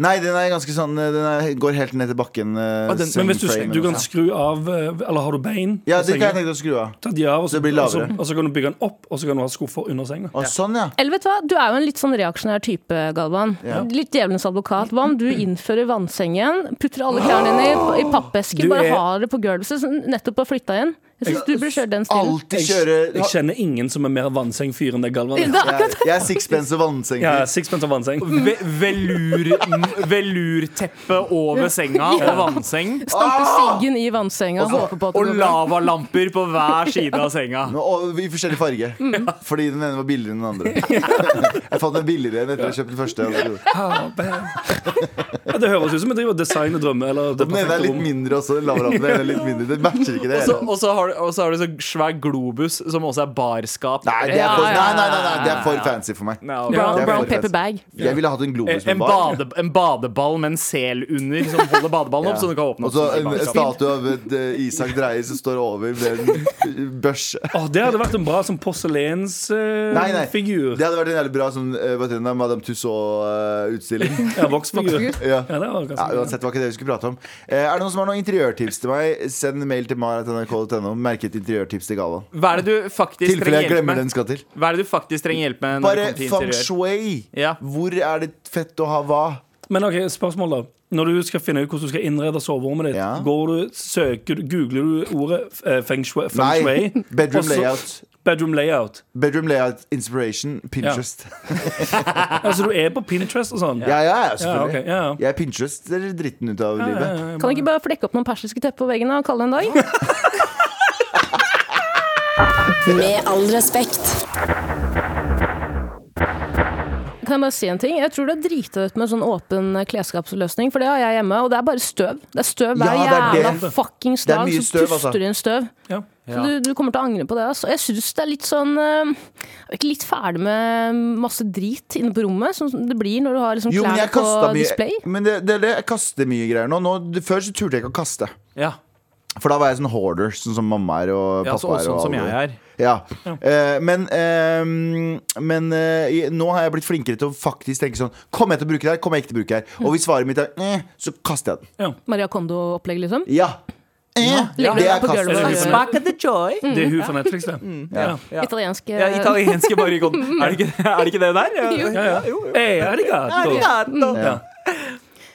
C: Nei, den er ganske sånn eh, Den er, går helt ned til bakken. eh,
B: Ah, den-
C: swing
E: Men hvis du,
C: frame
E: du
C: og
E: kan
C: sånn.
E: skru av eh, Eller har du bein?
C: Ja,
E: på
C: det kan jeg
E: senga?
C: tenke å skru av.
E: Ta de av, og så,
C: Det blir
E: og, så,
C: lavere.
E: og så kan du bygge den opp, og så kan du ha skuffer under senga.
C: Å, sånn, ja.
D: Eller vet du hva, du er jo en litt sånn reaksjonær type, Galvan.
C: Ja.
D: Litt djevelens advokat. Hva om du innfører vannsengen, putter alle klærne dine i, i pappesker,
E: Du
D: bare
E: er-
D: har det på gulvet, så sånn nettopp har flytta igjen? Jeg syns du burde kjøre den stilen.
C: Alltid kjøre
E: Jeg kjenner ingen som er mer vannsengfyr enn deg, Galvan.
D: Det er akkurat
C: Jeg er sixpence og vannseng.
E: Ja, sixpence og vannseng.
C: Mm.
B: Ve velur, m- velurteppe over
D: [laughs]
B: senga og vannseng.
D: Stampe siggen i vannsenga
C: Ah!
D: og
C: så-
D: håpe på at
B: Og
D: det går bra.
B: lavalamper på hver side av senga.
C: Nå, og I forskjellig farge.
E: Mm.
C: Fordi den ene var billigere enn den
E: [laughs]
C: andre. Jeg fant den billigere enn etter å ha kjøpt den første. Altså.
E: Ah, bam. Ja, det høres ut som jeg driver og designer drømmer. Eller det
C: Den ene er
E: perfekte
C: litt
E: rom.
C: mindre også. Den lavere den er litt mindre. Det matcher ikke det.
B: Og så, og så har du, og så har du så svær globus som også er barskap.
C: Nei, det er for, nei, nei, nei, nei, det er for fancy for meg.
B: Ja,
E: Ja,
D: Brown,
C: det er
D: brown
C: veldig
D: paper bag.
C: Jeg ville hatt en globus
B: Eh, En,
C: med bar.
B: bade, en badeball med en sel under som holder badeballen opp, så den kan åpne
C: Og så
B: opp. som
C: en
B: barskap.
C: statue av et, eh, Isak Dreyer som står over med en børse.
E: Åh, det hadde vært en bra sånn
C: Nei, nei.
E: porselensfigur.
C: Det hadde vært en jævlig bra sånn, eh, hva heter den da, Madame Tussauds-utstilling.
B: [laughs]
E: ja, voksfigur.
C: Ja.
E: Ja, det var ganske
C: Ja,
E: bra.
C: uansett, det var ikke det vi skulle prate om. Eh, er det noen som har noen interiørtips til meg, send mail til mar.nrk.no. Merket interiørtips til Galvan.
B: Hva er det du faktisk
C: Tilfelle
B: trenger
C: jeg
B: hjelp
C: glemmer
B: med?
C: den skal til.
B: Hva er det du faktisk trenger hjelp med? Når det
C: Bare
B: kommer til
C: feng
B: interiør?
C: shui.
B: Ja.
C: Hvor er det fett å ha hva?
E: Men ok, spørsmål da Når du skal finne ut hvordan du skal innrede soverommet ditt
C: Ja.
E: Går du, søker du, googler du ordet eh, Feng Shui, feng
C: Nei,
E: shui
C: [laughs] bedroom
E: og så-
C: layout.
E: Bedroom layout
C: Bedroom layout, inspiration, Pinterest.
E: Altså du er på Pinterest og sånn
C: [laughs] Ja, ja, ja
E: ja,
C: selvfølgelig.
E: ok, ja, ja.
C: Jeg Pinterest er dritten ut av
E: Ja,
C: livet.
E: ja, ja.
D: Kan du ikke bare flekke opp noen persiske tepper på veggen og kalle det en
C: [laughs]
D: dag?
A: Med all respekt.
D: Kan jeg bare si en ting? Jeg tror du er drita ut med en sånn åpen klesskapsløsning, for det har jeg hjemme, og det er bare støv. Det er støv hver
C: Ja, det er
D: jævla
C: det.
D: fuckings
C: Det er
D: dag,
C: mye
D: så
C: støv,
D: puster
C: altså.
D: du inn støv.
E: Ja.
D: Så du, du kommer til å angre på det. Altså. Jeg syns det er litt sånn eh, Jeg er ikke litt ferdig med masse drit inne på rommet, sånn som det blir når du har liksom
C: Jo, men
D: klær
C: jeg
D: på
C: kasta mye
D: display.
C: Men det, det, er det, jeg kaster mye greier nå. nå det- før så turte jeg ikke å kaste.
B: Ja,
C: For da var jeg sånn hoarder, sånn som mamma er og
B: ja
C: pappa
B: så, og
C: er.
B: sånn
C: og
B: som
C: alle.
B: jeg er.
C: Ja. Eh, men eh, men eh, i- nå har jeg blitt flinkere til å faktisk tenke sånn Kommer jeg til å bruke det her? Kommer jeg ikke til å bruke det her? Og hvis svaret mitt er eh, så kaster jeg den.
D: Maria Kondo-opplegg, liksom.
C: Ja. Eh,
D: Legger
C: Det
D: du
C: er
D: deg på
C: kast.
D: gulvet og
E: It's
D: gjør
E: back
B: at the joy.
E: Det er hun fra Netflix det
C: Mm.
E: Ja,
B: Ja.
D: italienske
B: Ja, italienske barrikon. Er, det ikke- er det ikke det [laughs] der?
D: Jo.
E: ja, Eh, ja. Hey, arigato
B: Ja.
E: Ja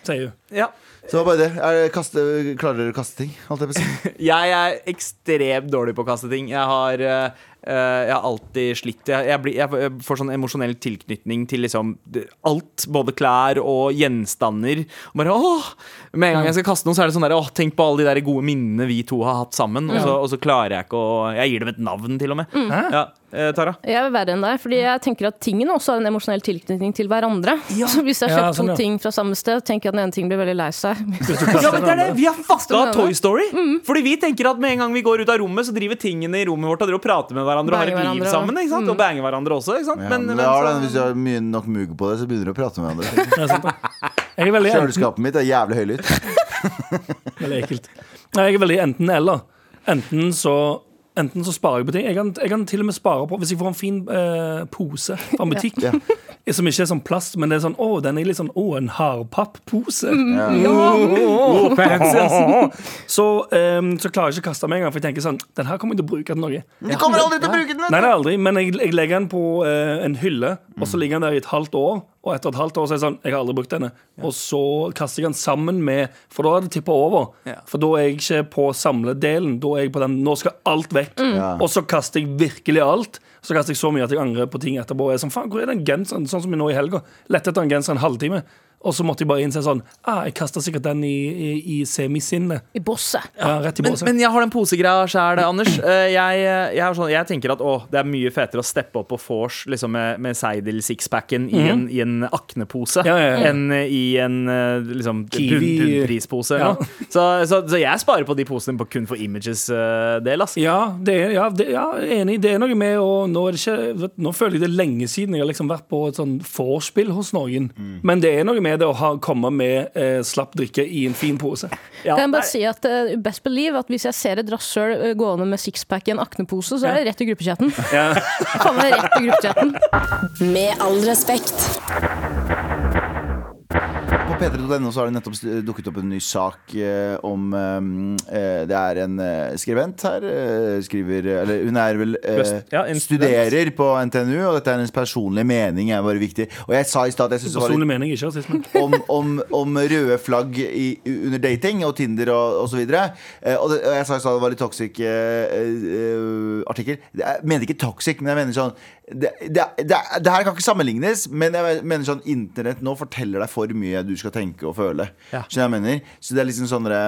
E: Sier hun
B: Ja.
C: Så det var bare det. Er det kaste, klarer dere å kaste ting? Holdt jeg på å [laughs] si.
B: Jeg er ekstremt dårlig på å kaste ting. Jeg har, eh, eh, jeg har alltid slitt. Jeg, jeg, blir, jeg får- jeg får sånn emosjonell tilknytning til liksom det- alt. Både klær og gjenstander. Og bare, åh, med en gang jeg skal kaste noe, så er det sånn der, åh, tenk på alle de der gode minnene vi to har hatt sammen. Og så, og så klarer jeg ikke å Jeg gir dem et navn, til og med.
D: Mm.
B: Ja, eh, Tara?
D: Jeg er verre enn deg, fordi jeg tenker at tingene også har en emosjonell tilknytning til hverandre. Så hvis jeg har
E: Ja,
D: kjøpt
E: sånn, ja.
D: to ting fra samme sted, tenker jeg at den ene ting blir veldig lei seg. [laughs]
B: Ja, men det er det. Vi har fucka
D: Stemmer det.
B: Toy Story.
D: Mm.
B: Fordi vi tenker at med en gang vi går ut av rommet, så driver tingene i rommet vårt og driver og prater med hverandre og har et liv
D: Banger hverandre, Mm.
B: sammen. Ikke sant? Og banger hverandre også. Ikke sant?
C: Ja,
B: Men,
C: men
B: men,
C: det har
B: så,
C: den, hvis du har mye nok mugg på det, så begynner du å prate med [laughs] hverandre.
E: Ja, sant det. Jeg er veldig enten
C: Kjøleskapet mitt er jævlig høylytt.
E: Veldig ekkelt. Nei, jeg er veldig enten eller. Enten så Enten så sparer jeg på ting. Jeg kan, jeg kan til og med spare på Hvis jeg får en fin eh, pose fra en butikk,
C: Ja.
E: [laughs] som ikke er sånn plast, men det er sånn Å, den er litt sånn Å, en hardpapppose. Så, eh, så klarer jeg ikke å kaste meg engang, for jeg tenker sånn Den her kommer jeg til å bruke til noe.
C: Du kommer aldri til å bruke den!
E: Nei, det er aldri, men jeg, jeg legger den på eh, en hylle, og
B: Mm.
E: så ligger den der i et halvt år. Og etter et halvt år så er det sånn Jeg har aldri brukt denne. Og så kaster jeg den sammen med For da har det tippa over.
B: Ja.
E: For da er jeg ikke på samledelen. Da er jeg på den Nå skal alt vekk. Og så kaster jeg virkelig alt. Så kaster jeg så mye at jeg angrer på ting etterpå. Jeg er sånn, faen, hvor er den genseren? Sånn som nå i helga. Lette etter en genser en halvtime. Og så måtte jeg bare innse sånn ah, Jeg kasta sikkert den i, i, i semisinnet.
D: I bosset.
E: Ja, rett i
B: men,
E: båsen.
B: men jeg har den posegreia sjæl,
E: Mm.
B: Anders. Eh, Jeg, jeg, er sånn, jeg tenker at å, det er mye fetere å steppe opp på vors liksom med, med Seidel-sixpacken i, en- i en aknepose
E: Mhm. Ja, ja, ja.
B: enn i en eh, liksom,
E: Kiwi.
B: bunnprispose.
E: Ja.
B: Så, så, så jeg sparer på de posene på kun for images eh, del. ass.
E: Ja, det er, ja, det, ja, enig. Det er noe med å nå, er det ikke, vet, nå føler jeg det er lenge siden jeg har liksom vært på et sånn vorspiel hos noen.
C: Mm.
E: Men det er noe med det å ha, komme med eh, slapp drikke i en fin pose.
B: Ja,
D: Kan jeg
B: nei.
D: bare si at eh, best believe at hvis jeg ser et rasshøl eh, gående med sixpack i en aknepose, så er det rett i gruppechatten. [laughs] Faen meg rett i gruppechatten.
A: Med all respekt.
C: På på p3.no så har det nettopp dukket opp en ny sak eh, om eh, Det er en eh, skribent her. Eh, skriver Eller hun er vel eh,
B: Ja, en student.
C: Studerer på NTNU, og dette er hennes personlige mening. Er bare viktig. Og jeg sa i stad at jeg synes det var litt
E: Personlig mening, ikke rasisme.
C: [laughs] om, om, om røde flagg i, under dating og Tinder og osv. Og, så videre. eh, og, det- og jeg sa i stad det var litt toxic eh, eh, artikkel. Det- Jeg mener ikke toxic, men jeg mener sånn det, det, det, det her kan ikke sammenlignes, men jeg mener sånn internett nå forteller deg for mye du skal tenke og føle.
B: Ja.
C: Så, jeg mener, så det er liksom sånn dere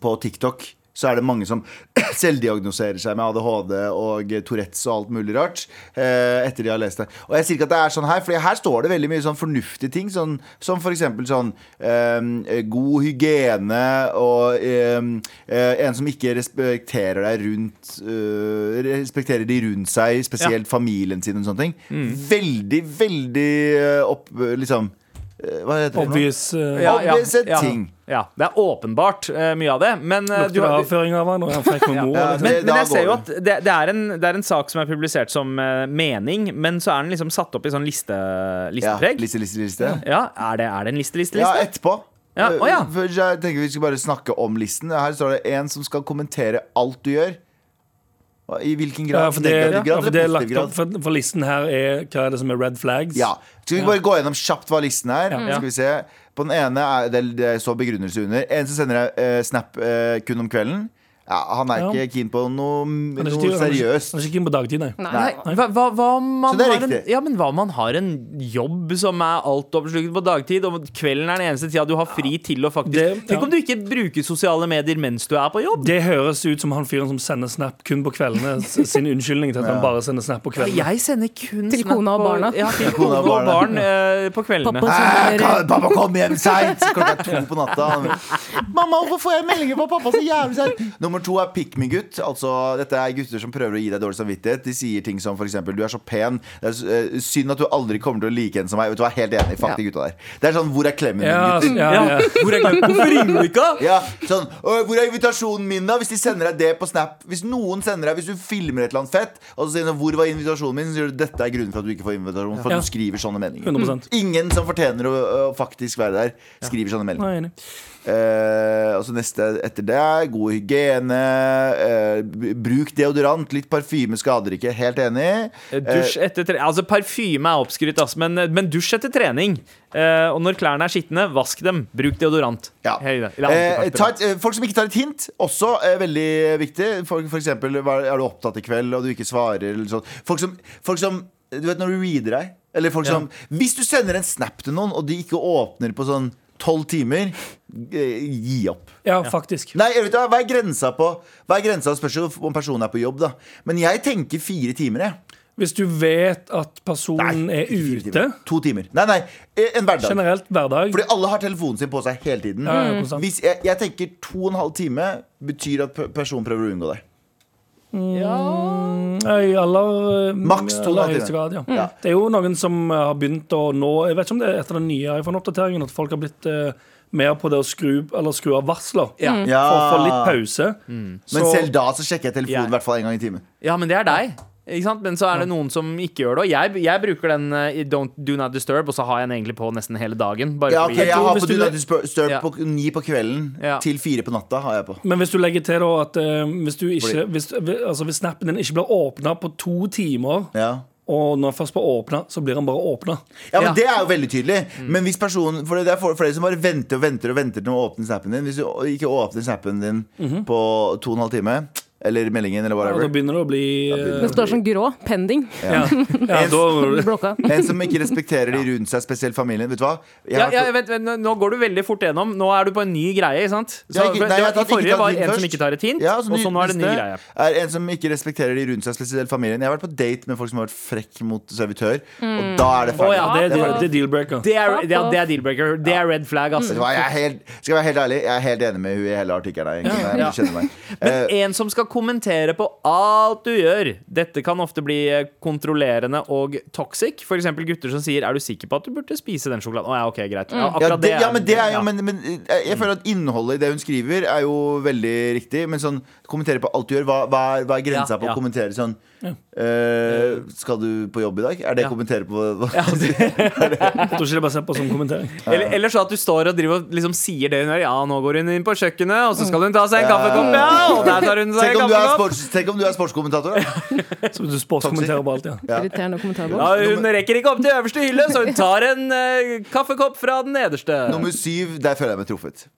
C: på TikTok så er det mange som [clears throat] selvdiagnoserer seg med ADHD og Tourettes og alt mulig rart. Eh, etter de har lest det. Og jeg sier ikke at det er sånn her, for her står det veldig mye sånn fornuftige ting. Sånn, som f.eks. sånn eh, god hygiene og eh, eh, en som ikke respekterer deg rundt eh, Respekterer de rundt seg, spesielt familien sin og sånne ting. Veldig, veldig eh, opp Liksom eh, Hva heter det? for noe?
E: Obvious. eh,
B: Ja, ja,
C: Obvious
B: ja,
C: ting.
B: Ja, det er åpenbart eh, mye av det. Men, eh, du
E: Lukter det
B: har-
E: avføring av han, og han fikk med mor.
C: [laughs] Ja,
E: liksom.
B: men,
C: Det- da
B: men jeg
C: går
B: ser jo at
C: det.
B: det, det, er en, det er en sak som er publisert som eh, mening, men så er den liksom satt opp i sånn liste,
C: Ja,
B: listepreg.
C: liste, liste, liste.
B: Ja, er det, er det en liste, liste,
C: Ja,
B: liste?
C: etterpå.
B: Ja, å ja.
C: Først, Jeg tenker Vi skal bare snakke om listen. Her står det en som skal kommentere alt du gjør. Hva- I hvilken grad?
E: Ja, for det,
C: Negativ
E: ja,
C: grad
E: for det er
C: eller
E: lagt
C: positiv
E: opp
C: grad?
E: for, for listen her er hva er det som er red flags.
C: Ja. Skal vi bare gå gjennom kjapt hva listen er?
B: Ja.
C: Skal vi se På den ene er det, det står begrunnelse under. En som sender deg eh, snap eh, kun om kvelden. Ja, han er
E: Ja.
C: ikke keen på noe,
E: Han er ikke- han
C: noe
E: er ikke- Han
C: seriøst.
E: er ikke keen på dagtid, nei.
D: Nei.
C: Nei.
B: Hva, hva, hva om man
C: Så det er
B: har en,
C: riktig.
B: ja, men hva om man har en jobb som er altoppslukt på dagtid, og kvelden er den eneste tida du har fri til å faktisk
E: Det-
B: Tenk
E: ja.
B: om du ikke bruker sosiale medier mens du er på jobb?
E: Det høres ut som han fyren som sender snap kun på kveldene. s- Sin unnskyldning til at han bare sender snap på kveldene.
B: Jeg sender kun
D: Til
B: snap
D: kona og
B: på-
D: barna.
B: Ja, til kona og barn eh, på kveldene.
D: Pappa sånn eh,
C: Æ,
D: sender
C: kan- Pappa, kom hjem seint! Klokka er to på natta. [laughs] Mamma, hvorfor får jeg meldinger på pappa så jævlig seint? Nummer to er pick me gutt. Altså, dette er gutter som prøver å gi deg dårlig samvittighet. De sier ting som f.eks.: Du er så pen. Det er eh, synd at du aldri kommer til å like en som meg. Vet du hva, helt enig. Fuck de gutta der. Det er sånn Hvor er klemmen min,
E: Ja, altså. s-
C: gutt?
E: ja,
B: Ja,
E: ja.
B: hvor er glemte- Hvorfor ringer du ikke?
C: Ja, sånn, «Åh, Hvor er invitasjonen min, da? Hvis de sender deg det på Snap Hvis noen sender deg, hvis du filmer et eller annet fett, og så sier de 'Hvor var invitasjonen min?' så sier du 'Dette er grunnen for at du ikke får invitasjon', for at
E: Ja.
C: du skriver sånne meninger.
E: 100%.
C: Ingen som fortjener å, å faktisk være der, skriver sånne
E: Nei,
C: meldinger.
E: jeg er enig.
C: Eh, og så neste etter det er god hygiene. eh, b- bruk deodorant. Litt parfyme skader ikke. Helt enig.
B: Eh, Dusj etter tre Altså Parfyme er oppskrytt, ass, men, eh, men dusj etter trening. Eh, og når klærne er skitne, vask dem. Bruk deodorant.
C: Ja.
B: Hei, da. Eller
C: Eh, ta
B: antiparfyme.
C: et, eh, folk som ikke tar et hint, også eh, veldig viktig. For, for eksempel, hva- er du opptatt i kveld, og du ikke svarer, eller sånt. Folk som, folk som Du vet når du reader deg, eller folk som Hvis du sender en snap til noen, og de ikke åpner på sånn tolv timer, eh, gi opp.
E: Ja, faktisk.
C: Nei, jeg vet ikke, hva er grensa på Hva er grensa? Spørs jo om personen er på jobb, da. Men jeg tenker fire timer, jeg.
E: Hvis du vet at personen er
C: Fire
E: ute
C: timer. To timer. Nei, nei. eh, En hverdag.
E: generelt hverdag
C: Fordi Mm. alle har telefonen sin på seg hele tiden.
E: Ja, ja, konstant.
C: Hvis jeg, jeg tenker to og en halv time betyr at pe- personen prøver å unngå deg.
E: I aller, eh,
C: Maks to
E: aller
C: dager.
E: høyeste grad, ja.
C: Ja.
E: Det er jo noen som eh, har begynt å nå Jeg vet ikke om det er etter den nye iPhone-oppdateringen at folk har blitt eh, mer på det å skru, eller skru av varsler.
B: Ja.
C: Ja.
E: For å få litt pause.
C: Men
E: Så-
C: selv da så sjekker jeg telefonen
B: Jeg-
C: i hvert fall en gang i timen.
B: ja, men det er deg. Ikke sant? Men så er det noen som ikke gjør det. Og jeg, jeg bruker den eh, i Don't Do Not Disturb, og så har jeg den egentlig på nesten hele dagen. Bare
C: Ja, ok,
B: fordi-
C: jeg har
E: hvis
C: på
E: du
C: du
E: le-
C: Disturb
B: Ja.
C: på ni på kvelden
B: Ja.
C: til fire på natta. har jeg på
E: Men hvis du legger til da at eh, hvis, du ikke,
C: Fordi-
E: hvis, altså, hvis snappen din ikke blir åpna på to timer,
C: ja.
E: og når den først blir åpna, så blir den bare åpna.
C: ja, men
B: Ja.
C: Det er jo veldig tydelig. Men hvis personen, for Det er for- flere som bare venter og venter og venter til å åpne snappen din. Hvis du ikke åpner snappen din
B: Mhm.
C: på to og en halv time, eller meldingen, eller
E: Og da
C: whatever
E: begynner det å bli eh,
D: Det står sånn grå. Pending.
E: ja. ja, da
D: Blokka.
C: En som
B: [laughs]
C: ikke respekterer de rundt seg, spesielt familien. Vet du hva?
B: altså,
C: Jeg
B: Ja,
C: har-
B: ja, vent, vent, nå- nå går du veldig fort gjennom. Nå er du på en ny greie. ikke sant? Så,
C: Jeg har ikke- nei,
B: det var,
C: jeg har
B: I
C: tatt ikke
B: forrige
C: tatt
B: var
C: hint
B: en som
C: først.
B: ikke tar et hint,
C: Ja,
B: og så nå er det en ny
C: neste
B: greie.
C: Er en som ikke respekterer de rundt seg, spesielt familien. Jeg har vært på date med folk som har vært frekk mot servitør, og da er det
B: Mm. Å,
C: ferdig.
B: ja,
E: Det, det,
C: er ferdig.
E: det er deal-breaker.
B: Det er, det er, det er deal-breaker. Det er red flag, ass.
C: Vet du hva, jeg er helt, skal jeg være helt ærlig, jeg er helt enig med hun i hele artikkelen. her, egentlig. Jeg kjenner meg.
B: [laughs]
C: Eh,
B: Men en som skal kommentere på alt du gjør. Dette kan ofte bli eh, kontrollerende og toxic. For eksempel gutter som sier 'er du sikker på at du burde spise den sjokoladen'? Å ja, ok, greit. Ja,
C: Mm. ja,
B: akkurat
C: det, ja, men det er jo
B: ja.
C: men, men eh, jeg føler at innholdet i det hun skriver, er jo veldig riktig. Men sånn kommentere på alt du gjør. Hva, hva, er, hva er grensa
B: Ja,
C: på
B: ja.
C: å kommentere sånn Eh, skal du på jobb i dag? Er det å kommentere på hva ja, [laughs]
E: Jeg tror ikke det er basert på sånn kommentering.
B: Eller, eller så at du står og driver og liksom sier det hun gjør. Ja, nå går hun inn på kjøkkenet, og så skal hun ta seg en kaffekopp. Ja, og der tar hun seg
C: Tenk
B: en
C: om, du er
B: kaffekopp.
C: sports, tenk om du er sportskommentator, da.
E: Så du sportskommenterer på alt, ja.
D: Irriterende kommentarboks.
B: Ja, hun rekker ikke opp til øverste hylle, så hun tar en eh, kaffekopp fra den nederste.
C: Nummer syv, der føler jeg meg truffet.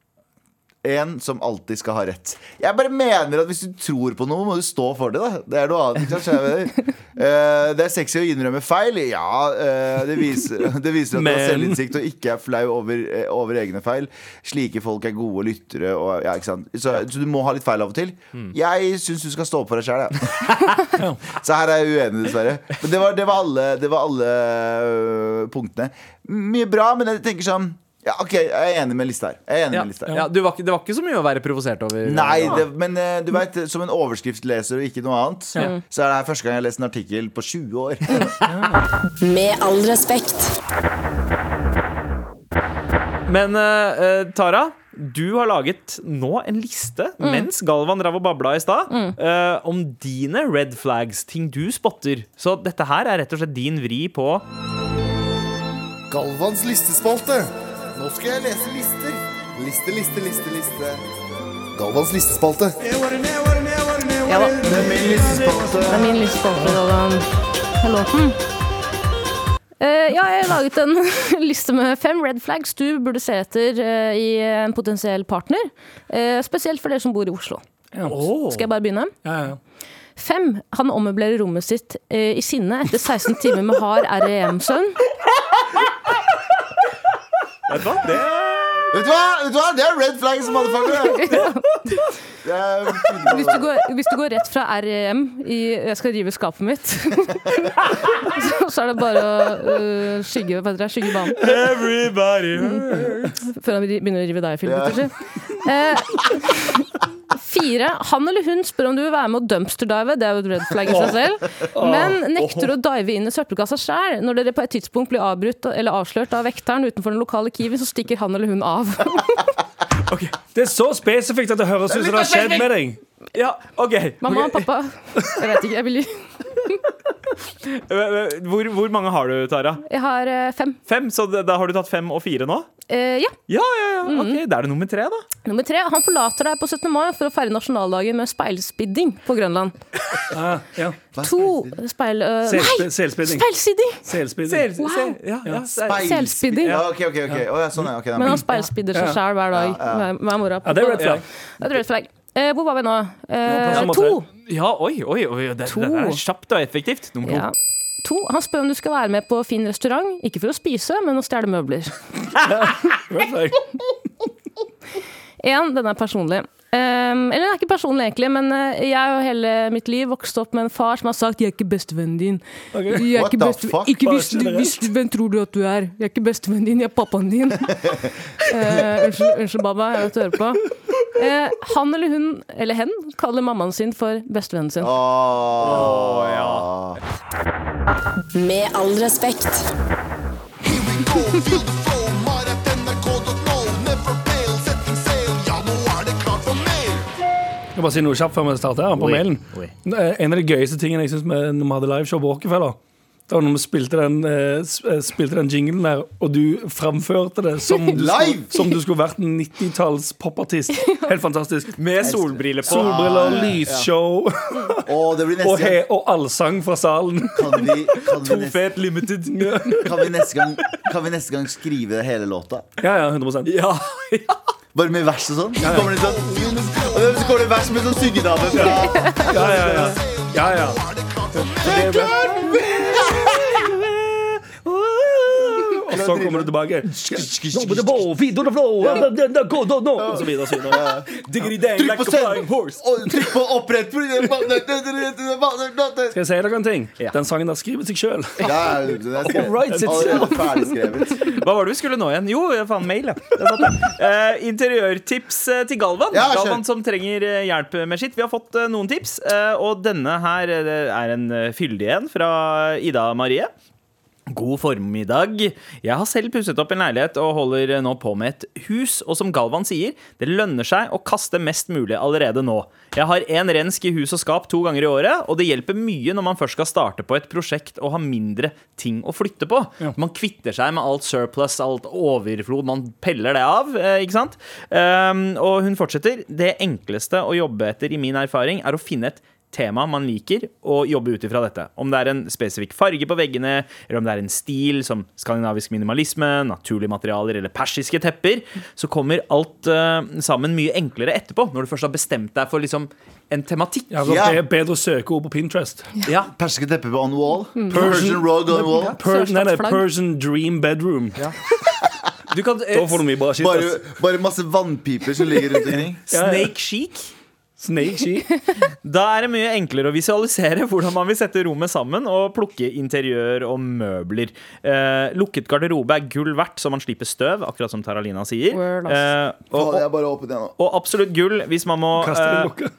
C: En som alltid skal ha rett. Jeg bare mener at hvis du tror på noe, må du stå for det. da Det er noe annet. Ikke sant? skjønner du hva jeg mener? Eh, det er sexy å innrømme feil. Ja, eh, det, viser, [laughs] det viser at du har
E: Men-
C: selvinnsikt og ikke er flau over, eh, over egne feil. Slike folk er gode lyttere. Og, ja, ikke sant? Så, så du må ha litt feil av og til. Jeg syns du skal stå opp for deg sjæl, jeg. Så her er jeg uenig, dessverre. Men det var, det var alle, det var alle øh, punktene. Mye bra, men jeg tenker sånn Ja, OK, jeg er enig med lista her. Jeg er enig
B: Ja,
C: med lista her
B: ja, du var, ikke- det var ikke så mye å være provosert over.
C: Nei, det, men øh, du veit, som en overskriftsleser og ikke noe annet, så er det her første gang jeg har lest en artikkel på 20 år.
H: Med all respekt.
B: Men eh, eh, Tara, du har laget nå en liste mens Galvan drev og babla i stad, eh, om dine red flags, ting du spotter. Så dette her er rett og slett din vri på
C: [laughs] Galvans listespalte. Nå skal jeg lese lister. Liste, liste, liste, liste. Galvans listespalte.
D: Ja da. Det
C: Det er min listespalte.
D: er min listespalte. Galvan. Hallo. Hm. Eh, ja, jeg har laget en [laughs] liste med fem red flags du burde se etter eh, i en potensiell partner. Eh, spesielt for dere som bor i Oslo.
E: Ja,
D: Skal jeg bare begynne?
E: ja, ja.
D: Fem, han ommøblerer rommet sitt eh, i sinne etter 16 timer med hard E REM-søvn.
C: Vet du hva? Vet du hva? Det er red flags, motherfucker! Det er-
D: Hvis du, går, hvis du går rett fra REM i 'jeg skal rive skapet mitt', [laughs] så, så er det bare å øh, skygge, hva heter det, skygge banen
C: [laughs]
D: før han ri- begynner å rive deg i
C: Ja.
D: filmen. Eh, fire. Han eller hun spør om du vil være med å dumpsterdive, det er jo et red flag i seg selv, men nekter å dive inn i søppelkassa sjæl. Når dere på et tidspunkt blir avbrutt eller avslørt av vekteren utenfor den lokale Kiwi, så stikker han eller hun av.
E: Det er så spesifikt at det høres ut som det har skjedd med deg.
B: Ja, OK.
D: Mamma og pappa. Jeg vet ikke, jeg vil gi
B: Eh, eh, Hvor, hvor mange har du, Tara?
D: Jeg har eh, fem.
B: Fem? Så da da har du tatt fem og fire nå?
D: Eh, ja.
B: Ja, ja, ja. OK, da er det nummer tre, da.
D: Nummer tre, han forlater deg på 17. mai for å feire nasjonaldagen med speilspidding på Grønland.
E: Ah, ja.
D: To speil... øh, nei!
E: Selsp- Selspidding.
D: Speilsidding!
E: Selspidding.
B: Se- se- ja, ja, se-
D: Selspidding.
C: Ja, ok, ok, ok. Å, ja, sånn, ja, ok, det er
D: Men
C: min.
D: han speilspidder seg sjæl hver dag. Hver, hver morgen.
E: Ja, det er red flag.
D: Det er red flag. Eh, hvor var vi nå? Eh,
E: Ja, på
D: to.
E: nummer
B: Ja, oi, oi, oi. Det, det,
D: To.
B: det er kjapt og effektivt. Nummer to.
D: Ja. to. Han spør om du skal være med på fin restaurant, ikke for å spise, men å stjele møbler.
E: Red flag.
D: Én, den er personlig. Um, eller den er ikke personlig, egentlig, men eh, jeg og hele mitt liv vokste opp med en far som har sagt 'jeg er ikke bestevennen din'. Jeg er
C: What
D: ikke
C: the
D: beste,
C: fuck?
D: ikke
E: Bare
D: hvis, du-
E: generelt.
D: hvis, du- hvem tror du at du er? Jeg er ikke bestevennen din, jeg er pappaen
C: [laughs]
D: din. Eh, unnskyld, unnskyld, baba, jeg vet du hører på. Eh, han eller hun, eller hen, kaller mammaen sin for bestevennen sin.
C: Å,
H: Med all respekt.
E: Jeg bare si noe kjapt før vi starter her på
B: Oi,
E: mailen.
B: oi.
E: Eh, En av de gøyeste tingene jeg synes med når vi hadde liveshow på Rockefeller, det var når vi spilte den, eh, s- eh, spilte den jinglen der, og du framførte det
B: [laughs]
E: som om du skulle,
C: Live!
E: som du skulle vært en 90-talls popartist. Helt fantastisk.
B: Med solbriller på.
E: Solbriller,
B: [laughs]
E: lysshow
C: Å, det blir
E: og,
C: neste gang.
E: he og allsang fra salen.
C: Kan vi, kan, vi neste,
B: [laughs] Fet limited.
C: kan, vi neste gang, kan vi neste gang skrive hele låta?
E: Ja, ja, 100
B: Ja, ja.
C: Bare med vers og sånn? Så kommer det sånn Og så kommer det vers med sånn syngedame fra
E: Ja, ja, ja.
B: [laughs]
E: ja, ja. Det er bra. Og så kommer du tilbake. Over the bow, feet on the floor, and then the go, no, no, Og så videre og så videre. Diggity dang,
C: Trykk
E: like
C: på
E: a flying
C: send!
E: horse.
C: Og Trykk på opprett
E: Skal jeg si dere en ting? Den sangen der skriver seg sjøl.
C: Ja, det er
E: Alright,
C: skrevet.
E: it's-
C: Allerede ferdigskrevet.
B: Hva var det vi skulle nå igjen? Jo, jeg fant mail, ja. Der satt den. Eh, interiørtips eh, til Galvan.
C: Ja, kjør.
B: Galvan som trenger eh, hjelp med sitt. Vi har fått eh, noen tips, eh, og denne her eh, er en eh, fyldig en fra Ida Marie. God formiddag. Jeg har selv pusset opp en leilighet og holder nå på med et hus. Og som Galvan sier, det lønner seg å kaste mest mulig allerede nå. Jeg har én rensk i hus og skap to ganger i året, og det hjelper mye når man først skal starte på et prosjekt og ha mindre ting å flytte på. Man kvitter seg med alt surplus, alt overflod. Man peller det av, eh, ikke sant? Ehm, Og hun fortsetter. Det enkleste å jobbe etter, i min erfaring, er å finne et tema man liker, og jobbe ut ifra dette. Om det er en spesifikk farge på veggene, eller om det er en stil som skandinavisk minimalisme, naturlige materialer eller persiske tepper, så kommer alt eh, sammen mye enklere etterpå, når du først har bestemt deg for liksom en tematikk.
E: Ja, altså,
C: Ja.
E: be- Bedre søkeord på Pinterest.
B: Ja.
C: Persiske teppe på on wall. Persian rug on wall.
E: Per, nei, nei,
D: Sørstatsflagg.
E: Persian dream bedroom.
B: Du kan eh,
E: Da får du mye bra shit.
C: Bare,
E: ass.
C: bare masse vannpiper som ligger rundt omkring.
B: Snake chic.
E: Snake ski.
B: Da er det mye enklere å visualisere [laughs] hvordan man vil sette rommet sammen og plukke interiør og møbler. Eh, lukket garderobe er gull verdt, så man slipper støv, akkurat som Taralina sier.
D: Word,
B: Eh, og,
C: [laughs] Faen, jeg
B: og,
C: er bare åpen igjen nå.
B: og absolutt gull hvis man må
E: Kaster
B: eh,
E: en lukke.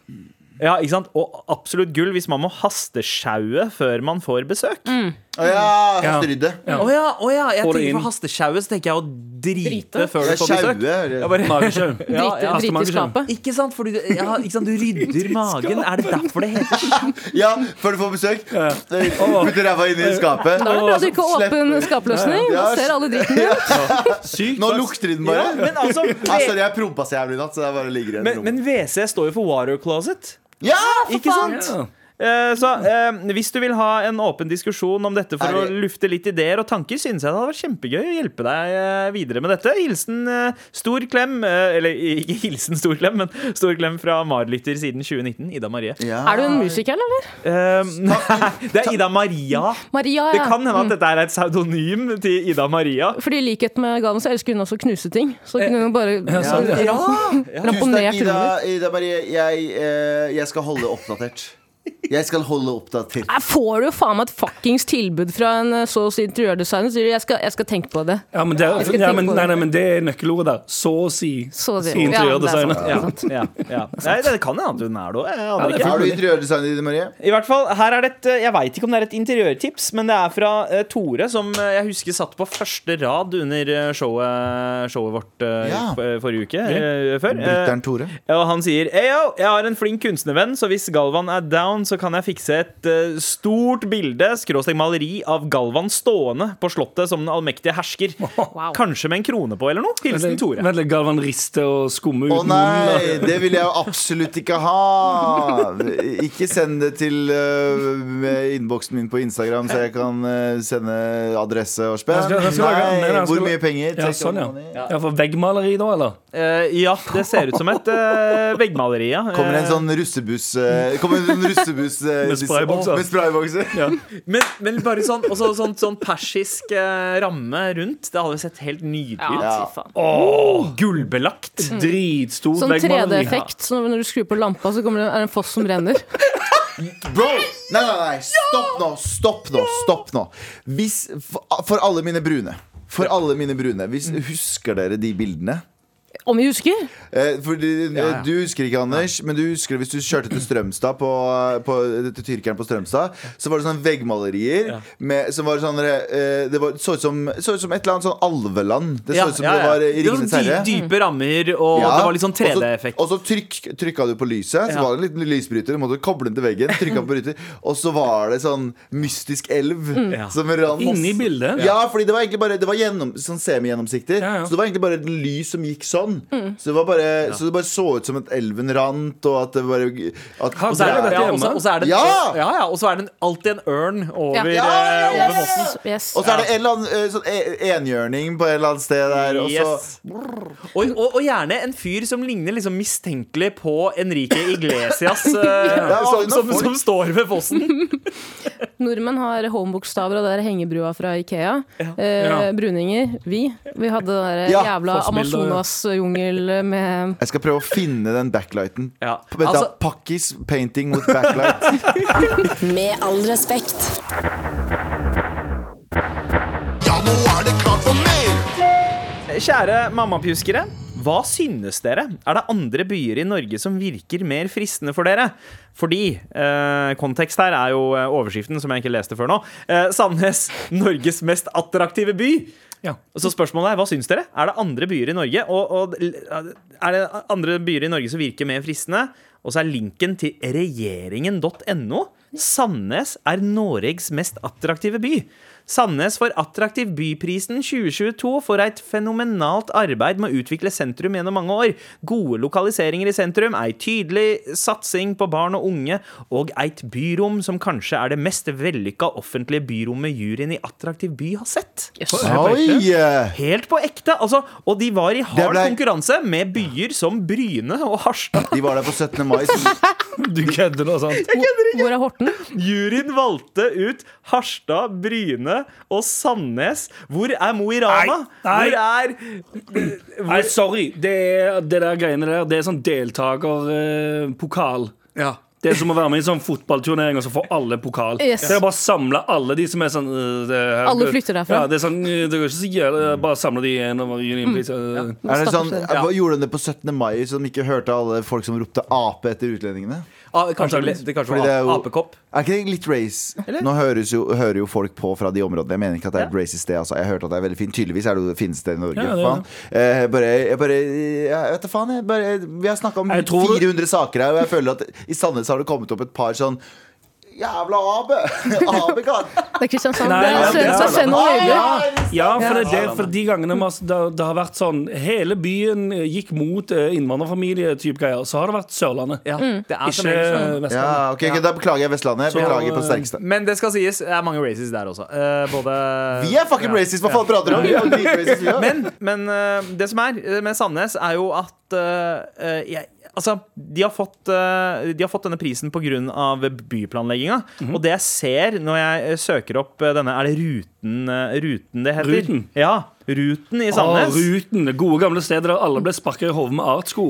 B: ja, ikke sant? Og absolutt gull hvis man må hastesjaue før man får besøk. Å
C: Å ja, hasterydde.
B: ja, å ja, jeg
E: Få det
B: tenker
E: inn.
B: for hastesjaue, så tenker jeg å drite,
D: Drite?
B: før du
C: Det er
B: får besøk.
C: sjaue.
B: Jeg
C: hører jeg.
B: bare-
E: Magesjau.
B: Ja, ja.
D: Drite drite i skapet.
B: Ikke sant? Fordi, du- ja, ikke sant? Du rydder magen. Er det derfor det heter
C: Ja, før du får besøk. Putter ræva inn i skapet.
D: Da er det bra at du ikke har
C: Slipp-
D: åpen skapløsning. Da
C: Ja,
D: ser alle dritten din.
B: Sykt.
C: Nå lukter den
B: Ja,
C: bare.
B: men altså,
C: Ja, sorry, jeg prompa så jævlig i natt, så jeg bare ligger igjen i
B: Men,
C: rommet.
B: men WC står jo for water closet.
C: Ja!
B: Ikke sant?
E: Ja.
B: Eh, Så eh, hvis du vil ha en åpen diskusjon om dette for
C: Er det-
B: å lufte litt ideer og tanker, synes jeg det hadde vært kjempegøy å hjelpe deg eh, videre med dette. Hilsen eh, stor klem eh, Eller ikke hilsen stor klem, men stor klem fra Marlytter siden 2019. Ida Marie.
C: ja.
D: Er du en musiker, eller?
B: Eh, Nei, [laughs] det er Ida Maria.
D: Maria,
B: Det
D: ja.
B: kan hende at dette er et pseudonym til Ida Maria.
D: Fordi i likhet med Galen så elsker hun også å knuse ting. Så kunne hun bare
B: Eh, Ja!
C: Tusen takk,
D: ramponert
C: Ida,
D: rommet ditt.
C: Ida Marie. Jeg, eh, jeg skal holde oppdatert. Jeg skal holde oppdatert.
D: Her får du jo faen meg et fuckings tilbud fra en eh, så å si interiørdesigner. Sier du, jeg skal, jeg skal tenke på det.
E: Ja, men det,
D: Jeg skal
E: ja,
D: tenke
E: men,
D: på det.
E: nei, nei, men det er nøkkelordet der. Så å si.
D: Så å si.
E: Interiørdesigner.
D: Ja, det er sånn. sant.
B: Ja, ja, ja. Nei, det kan hende at hun er det òg. Jeg aner ikke.
C: Er du interiørdesigner, Ida Marie?
B: I hvert fall, her er det et, eh, Jeg veit ikke om det er et interiørtips, men det er fra eh, Tore, som eh, jeg husker satt på første rad under eh, showet, showet vårt eh,
C: Ja.
B: for- forrige uke. eh, før. Eh,
C: Brutter'n Tore.
B: og han sier Eyo, jeg har en flink kunstnervenn, så hvis Galvan er down, så kan jeg fikse et eh, stort bilde, skråstrek maleri, av Galvan stående på slottet som den allmektige hersker.
D: Wow.
B: Kanskje med en krone på eller noe? Hilsen Tore.
E: Vent litt, Galvan rister og skummer
C: Å
E: ut munnen.
C: nei, det vil jeg jo absolutt ikke ha! Ikke send det til eh, innboksen min på Instagram, så jeg kan eh, sende adresse og
E: Jeg
C: spenn.
E: skal- jeg skal lage- nei, nei,
C: Nei,
E: jeg skal-
C: hvor mye penger?
E: Ja,
C: Take
E: sånn,
C: all money.
E: ja. ja, for veggmaleri da, eller?
B: Eh, ja, det ser ut som et eh, veggmaleri, ja.
C: Kommer en
B: Eh,
C: sånn russebuss eh, Kommer en sånn russebuss eh,
E: Med spraybokser.
C: Med spraybokser.
B: [laughs] Men, men bare sånn, også sånn, sånn persisk eh, ramme rundt. Det hadde sett helt nydelig ut.
D: Ja,
C: Ja.
D: fy faen.
B: Gullbelagt.
E: Mm. Dritstor
D: Sånn
E: veggmaleri.
D: 3D-effekt. Så når du skrur på lampa, så kommer det, er det en foss som renner.
C: Bro! Nei, nei, nei. Stopp nå. Stopp nå. Stopp nå. Hvis, for, for alle mine brune. For alle mine brune. Hvis, husker dere de bildene?
D: Om vi husker?
C: Eh, fordi, eh, Du husker ikke, Anders, men du husker hvis du kjørte til Strømstad på, på, Til tyrkeren på Strømstad, så var det sånne veggmalerier med, som var sånn eh, Det var, så ut som, så ut som et eller annet sånn alveland. Det så ut som det var eh, i
B: Det var sånn
C: Ringenes herre.
B: dy- dype rammer, og
C: Ja.
B: det var litt sånn
C: Og så-
B: 3D-effekt.
C: Og så trykk, trykka du på lyset, så
B: Ja.
C: var det en liten lysbryter. Du måtte koble den til veggen,
B: [laughs]
C: trykka på bryter, og så var det sånn mystisk elv
B: Mm.
C: som rant
E: Inni bildet.
C: Ja, fordi det var egentlig bare Det var gjennom, sånn semigjennomsiktig.
E: Ja, ja.
C: Så det var egentlig bare et lys som gikk sånn. Så, det var bare, så det bare så ut som at elven rant, og at det bare at,
E: Har
B: Og så er
E: dere
B: det,
E: dette
B: ja, og
E: hjemme?
B: så- og så er det, ja,
C: Ja!
B: ja, og så er det en, alltid en ørn over,
D: Ja.
B: eh,
C: Ja, ja,
B: over fossen.
D: Yes.
C: Og så er det en eller annen eh, sånn e- enhjørning på et eller annet sted der. Og så,
B: Yes. Og, og, og gjerne en fyr som ligner liksom mistenkelig på Enrique Iglesias, eh, som,
C: sånne
B: som,
C: folk.
B: som står ved fossen.
D: Nordmenn har håndbokstaver og det der hengebrua fra Ikea. Eh,
E: Ja.
D: Bruninger. Vi. Vi hadde det der eh,
C: Ja,
D: jævla
E: fossbilder, ja.
D: Amazonas-jungel med
C: jeg skal prøve å finne den backlighten.
B: Ja.
C: Vent da,
B: Altså-
C: Pakkis painting with backlight.
B: [laughs]
H: Med all respekt.
B: Kjære mammapjuskere. Hva synes dere? Er det andre byer i Norge som virker mer fristende for dere? Fordi eh, Kontekst her er jo eh, overskriften, som jeg ikke leste før nå. Eh, Sandnes, Norges mest attraktive by.
E: Ja.
B: Så spørsmålet er, hva syns dere? Er det andre byer i Norge og, og, Er det andre byer i Norge som virker mer fristende? Og så er linken til regjeringen.no. Sandnes er Norges mest attraktive by. Sandnes får Attraktiv byprisen 2022 for et fenomenalt arbeid med å utvikle sentrum gjennom mange år. Gode lokaliseringer i sentrum, ei tydelig satsing på barn og unge, og eit byrom som kanskje er det mest vellykka offentlige byrommet juryen i Attraktiv by har sett.
C: Oi! eh,
B: Helt på ekte! Altså, og de var i hard
C: Det ble-
B: konkurranse med byer som Bryne og
C: [laughs]
B: Harstad.
C: De var der på 17. mai. så-
E: Du kødder nå, sant?
D: Hvor er Horten?
B: Juryen valgte ut Harstad, Bryne og Sandnes. Hvor er Mo i Rana?
E: Nei, nei.
B: Hvor er
E: Nei, sorry. Det, er, det der greiene der, det er sånn deltakerpokal.
F: Ja.
E: Det er som å være med i en sånn fotballturnering og så får alle pokal.
D: Yes.
E: Det er bare å samle alle de som er sånn øh, det er-
D: Alle flytter derfra.
E: Ja, det er sånn, øh, det går ikke så jævlig, bare samle de igjen over Unionpris.
C: Er det sånn,
D: Stakkars
C: hva Gjorde de det på 17. mai, så de ikke hørte alle folk som ropte ape etter utlendingene?
B: ah, Kanskje det ble- det kanskje
C: Fordi
B: var
C: det er jo-
B: apekopp?
C: Er ikke det litt race? Nå høres jo, hører jo folk på fra de områdene. Jeg mener ikke at det er et racist sted. Altså. Jeg hørte at det er veldig fint. Tydeligvis er det jo det finnes det i Norge.
E: Ja, det er
C: faen. Eh, bare, jeg bare Jeg vet da faen, jeg. Bare, vi har snakka om
E: Jeg tror-
C: 400 saker her, og jeg føler at i Sandnes har det kommet opp et par sånn Jævla [laughs] ape! Apekat!
D: Det er Kristiansand.
E: Nei,
D: Det
E: ja,
D: er
E: det er
D: Søren Svein og Høyby.
E: Ja, for, det, er det, for de gangene man, det, det har vært sånn Hele byen eh, gikk mot eh, innvandrerfamilie-type greier. Så har det vært Sørlandet.
B: Ja, det er som
E: Ikke
B: regel sånn.
E: Vestlandet.
C: Ja, ok, ok, Da beklager jeg Vestlandet.
E: Så,
C: Beklager på det
E: eh,
C: sterkeste.
B: Men det skal sies, det er mange races der også. Eh, både
C: Vi er fucking racist! Hva faen prater du om? Vi er dritracist, vi også.
B: Men, men eh, det som er eh, med Sandnes, er jo at eh, eh, jeg, Altså, de har, fått, eh, de har fått denne prisen pga. byplanlegginga.
E: Mhm.
B: Og det jeg ser når jeg eh, søker opp eh, denne Er det Ruten, eh, ruten det heter?
E: Ruten.
B: Ja, Ruten i
E: Å,
B: Sandnes.
E: ruten. Det gode, gamle stedet der alle ble sparka i hodet med artsko.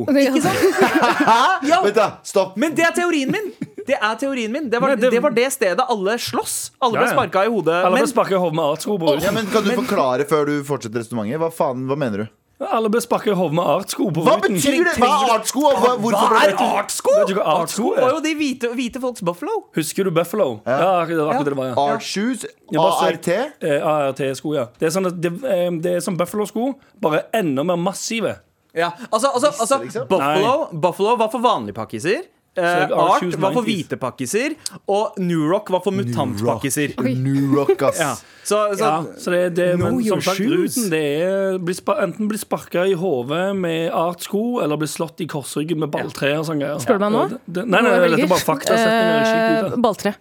C: Vent, da. Stopp.
B: Men det er teorien min! Det er teorien min Det var
E: Nei,
B: det,
E: det-
B: var det stedet alle sloss. Alle
E: Ja,
B: ble
E: ja.
B: sparka i hodet.
E: Alle
B: Men
E: ble sparka i hodet med artsko, bror.
C: Ja, men Kan du forklare før du fortsetter resonnementet? Hva faen, hva mener du?
E: Alle ble sparka i hodet med artsko på
C: Hva
E: ruten.
C: betyr det? Hva er artsko? og Hva, hvorfor
B: hva
C: ble
B: er
C: det-
B: artsko?
E: Vet du hva artsko
B: var
E: er?
B: jo de hvite, hvite folks Buffalo.
E: Husker du Buffalo? Ja, akkurat det var akkurat det det var, ja.
C: Art shoes?
E: bare så-
C: ART?
E: Eh, ART-sko, ja. Det er, sånn, at det, eh, det er som Buffalo-sko, bare enda mer massive.
B: Ja, altså, altså, altså
C: liksom?
B: Buffalo, Buffalo var for vanlige pakkiser. Eh,
E: jeg-
B: Art
E: Shoes
B: var for
E: 90s.
B: hvite pakkiser. Og New Rock var for mutantpakkiser.
C: New Rock, ass.
B: Ja. Så, så
E: Ja, så det, er det,
B: Know
E: men
B: your
E: som sagt,
B: shoes.
E: ruten det er bli spa, enten bli sparka i hodet med artsko, eller bli slått i korsryggen med balltre og sånn greier.
D: Spør du meg nå?
E: Ja, det- det- Nei, nei, nei, dette er bare faktasetninger. Skit ut
D: Eh,
E: av det.
D: Balltre.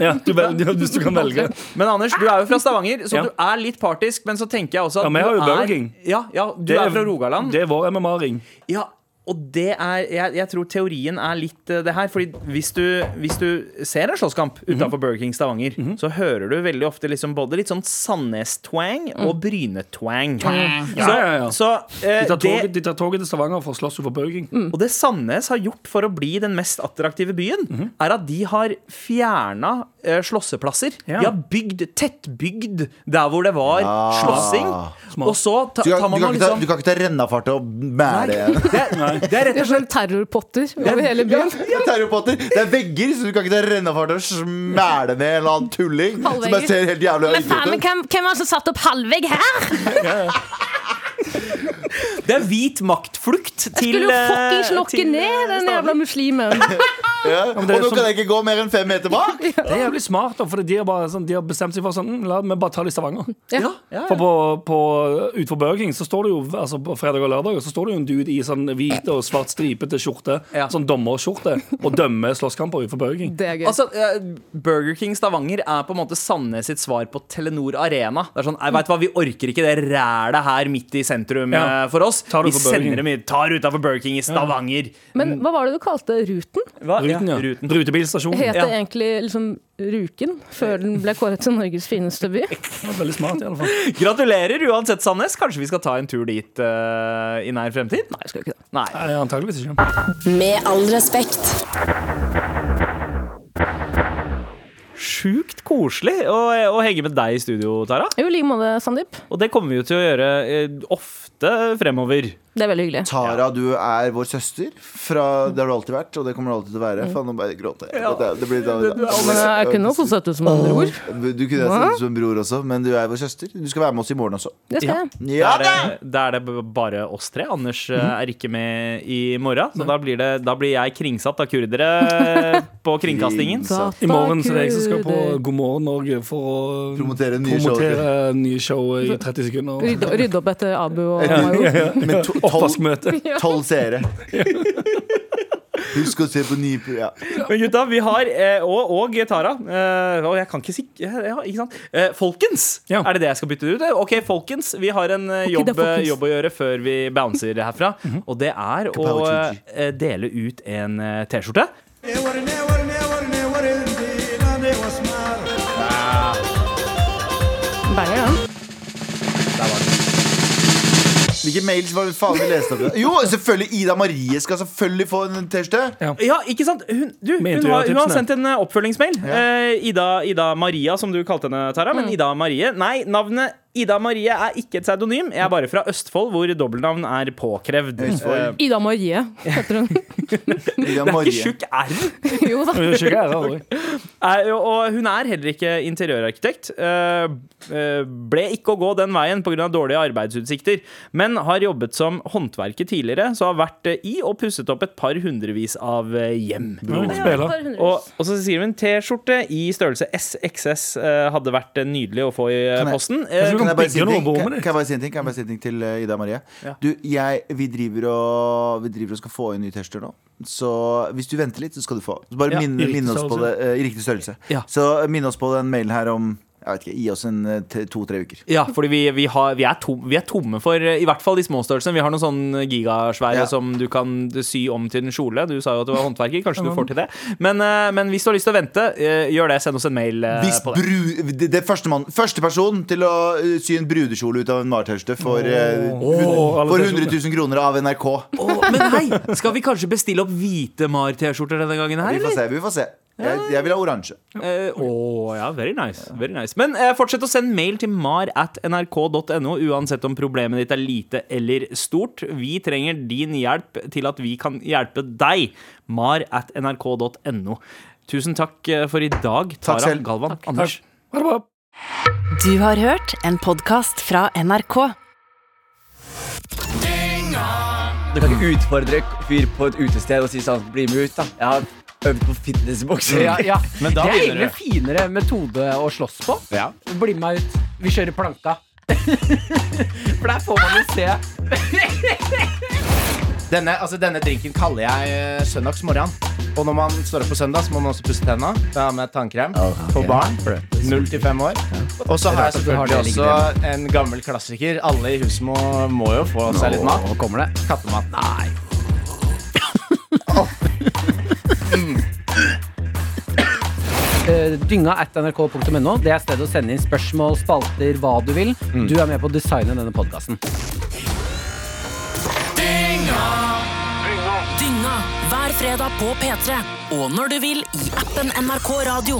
E: Ja, du vel, ja, hvis du kan
D: [laughs]
E: velge.
B: Men Anders, du er jo fra Stavanger, så
E: Ja.
B: du er litt partisk. Men så tenker jeg også at
E: Ja, men jeg
B: du
E: har jo
B: er-
E: Burger King.
B: Ja, ja, du er fra Rogaland.
E: Det er vår MMA-ring.
B: Ja, og det er jeg, jeg tror teorien er litt eh, det her. Fordi hvis du, hvis du ser en slåsskamp
E: Mhm.
B: utenfor Burger King Stavanger, så hører du veldig ofte liksom både litt sånn Sandnes-twang og Bryne-twang.
E: Mm. Ja, ja, ja.
B: Så, så eh,
E: De tar
B: det
E: toget, de tar toget til Stavanger for å slåss for Burger King.
D: Mm.
B: og det Sandnes har gjort for å bli den mest attraktive byen,
D: Mhm.
B: er at de har fjerna eh, slåsseplasser.
E: Ja.
B: De har bygd tettbygd der hvor det var slåssing. Og så ta,
C: Du kan,
B: tar man
C: du, kan
B: og
C: ikke ta,
B: liksom
C: du kan ikke ta rennafart og mæle
B: det, er- det er rett og
D: Det er sånn
B: slett
D: terrorpotter over hele byen.
C: Ja, terrorpotter. Det er vegger, så du kan ikke ta rennafart og smæle ned en eller annen tulling. Som
D: Halvvegger.
C: jeg ser helt jævlig
D: Men faen, men
C: idiot ut.
D: hvem, hvem var det som satte opp halvvegg her?
B: Det er hvit maktflukt til
D: Skulle jo
B: eh,
D: fuckings lokke
B: til, eh,
D: ned den
B: Stavanger.
D: jævla muslimen.
C: Ja. Og
E: det er
C: nå
E: som-
C: kan jeg ikke gå mer enn fem meter bak!
E: Det er jævlig smart, da, for de har, bare, sånn, de har bestemt seg for sånn mm, La meg bare ta det i Stavanger.
D: Ja.
E: For på, på, utenfor Burger King så står det jo altså på fredag og lørdag så står det jo en dude i sånn hvit og svart stripete skjorte,
B: Ja.
E: sånn dommerskjorte, og dømmer slåsskamper utenfor Burger King.
D: Det er gøy.
B: Altså, eh, Burger King Stavanger er på en måte Sandnes sitt svar på Telenor Arena. Det er sånn, jeg vet hva, Vi orker ikke det rælet her midt i sentrum
E: Ja.
B: eh, for oss.
E: Tar
B: Vi
E: det for Burger
B: sender
E: King.
B: dem i tar utafor Burger King i Stavanger.
D: Men hva var det du kalte Ruten?
B: Hva?
E: Ruten, ja.
B: Ja, ruten.
E: Rutebilstasjonen.
D: Het
B: Ja.
D: det egentlig liksom Ruken før den ble kåret til Norges fineste by?
E: Det var Veldig smart, i alle fall.
B: Gratulerer uansett, Sandnes. Kanskje vi skal ta en tur dit eh, i nær fremtid? Nei, skal vi ikke det. Nei.
E: Nei, antageligvis ikke.
H: Med all respekt.
B: Sjukt koselig å, å henge med deg i studio, Tara.
D: Jo, i like måte, Sandeep.
B: Og det kommer vi jo til å gjøre eh, ofte fremover.
D: Det er veldig hyggelig.
C: Tara, du er vår søster. Fra, det har du alltid vært, og det kommer du alltid til å være. Faen, nå bare gråter jeg. Det, det blir, det,
D: Men jeg er ikke noe søt ut som andre ord.
C: Du kunne sett ut som en bror også, men du er vår søster. Du skal være med oss i morgen også.
D: Det skal jeg.
C: Ja,
B: Da er det, da er det b- bare oss tre. Anders eh, er ikke med i morgen. Så da blir, det, da blir jeg kringsatt av kurdere eh, på kringkastingen.
E: I morgen så er det jeg som skal på God morgen Norge for å
C: Promotere nye show.
E: promotere nye show i 30 sekunder.
D: Rydde, rydde opp etter Abu og Mayo.
C: Med to- tolv
E: Oppvaskmøte.
C: tolv seere. Husk å se på nye pro- ja.
B: Men gutta, vi har eh, Og, og Tara. eh, Og jeg kan ikke si ja, Ikke sant? Eh, Folkens!
E: Ja.
B: Er det det jeg skal bytte det ut? Eh, OK, folkens. Vi har en eh,
D: da,
B: jobb, eh,
D: folkens.
B: jobb å gjøre før vi bouncer herfra. Og det er å
C: Kapow,
B: eh, dele ut en eh, T-skjorte.
D: Banger, den.
C: Hvilke mails var det faen vi leste opp? i dag? Jo, selvfølgelig! Ida Marie skal selvfølgelig få en T-skjorte.
B: Ja, ikke sant? Hun, du, hun,
E: Med
B: har, hun har
E: intervjuertipsene.
B: sendt en eh, oppfølgingsmail. Eh, Ida, Ida Maria, som du kalte henne, Tara. Men Ida Marie Nei, navnet Ida Marie er ikke et pseudonym. Jeg er bare fra Østfold, hvor dobbeltnavn er påkrevd. Eh,
D: Ida Marie heter hun.
C: Ida
B: Det er
C: Marie. Eh,
B: ikke tjukk R.
E: [laughs]
D: Jo da.
E: Skikkelig
B: [laughs]
E: ære, aldri.
B: Er, og hun er heller ikke interiørarkitekt. Eh, eh, ble ikke å gå den veien pga. dårlige arbeidsutsikter, men har jobbet som håndverker tidligere, så har vært eh, i og pusset opp et par hundrevis av eh, hjem.
E: Ja, spiller.
B: Og, og så sier hun T-skjorte i størrelse SXS eh, hadde vært eh, nydelig å få i eh,
C: Kan jeg-
B: posten. Eh,
E: Kanskje du
C: Kan jeg bare si
E: Bygger
C: en
E: noe
C: ting?
E: på
C: Kan,
E: rommet ditt.
C: kan jeg bare si en ting? Kan jeg bare si en ting til eh, Ida Marie? Du, jeg, vi, driver og, vi driver og skal få inn nye T-skjorter nå. Så hvis du venter litt, så skal du få. Så bare
B: Ja,
C: minn
E: i riktig
C: minn oss på det
E: størrelse.
C: eh, i riktig størrelse.
B: Ja.
C: Så eh, minn oss på den mailen her om jeg vet ikke, Gi oss en eh, t- to-tre uker.
B: ja, fordi vi, vi, har, vi, er tom, vi er tomme for eh, i hvert fall de små størrelsene. Vi har noen sånne gigasvære
C: Ja.
B: som du kan sy om til en kjole. Du sa jo at du var håndverker, kanskje du får til det. Men, eh, men hvis du har lyst til å vente, eh, gjør det. Send oss en mail eh,
C: Hvis
B: på det.
C: bru, det, det er første, mann, første person til å eh, sy en brudekjole ut av en Marit-T-skjorte for, eh,
E: Åh, alle
C: for
E: T-skjortene.
C: 100 000 kroner av NRK.
B: Å, men hei, skal vi kanskje bestille opp hvite Mar-T-skjorter denne gangen her,
C: Vi får
B: eller?
C: se. vi får se Jeg, jeg vil ha oransje.
B: Eh, Å ja, very nice. Very nice. Men eh, fortsett å sende mail til mar at nrk.no uansett om problemet ditt er lite eller stort. Vi trenger din hjelp til at vi kan hjelpe deg. Mar at nrk.no. Tusen takk eh, for i dag, Tara
C: selv.
B: Galvan. Anders.
E: Ha det bra.
A: Du har hørt en podkast fra NRK.
I: Du kan ikke utfordre en fyr på et utested og si sånn Bli med ut, da. Jeg har øvd på fitnessbokser.
J: Ja, ja.
F: Men da
J: det er
F: begynner
J: egentlig finere metode å slåss på.
F: Ja.
J: Bli med meg ut. Vi kjører planka. [laughs] For der får man jo se.
K: Denne, altså, denne drinken kaller jeg eh, søndagsmorgen. Og når man står opp på søndag, så må man også pusse tenna. Da har jeg med tannkrem på barn. Null til fem år. Og så
J: at du
K: har jeg
J: har
K: selvfølgelig
J: det liggende.
K: også en gammel klassiker. Alle i huset må, må jo få seg litt mat.
J: Nå kommer det.
K: Kattemat. Nei.
J: [coughs] Eh, Dynga at nrk.no. Det er stedet å sende inn spørsmål, spalter, hva du vil.
K: Mm.
J: Du er med på å designe denne podkasten.
H: Dynga hver fredag på P3. Og når du vil i appen NRK Radio.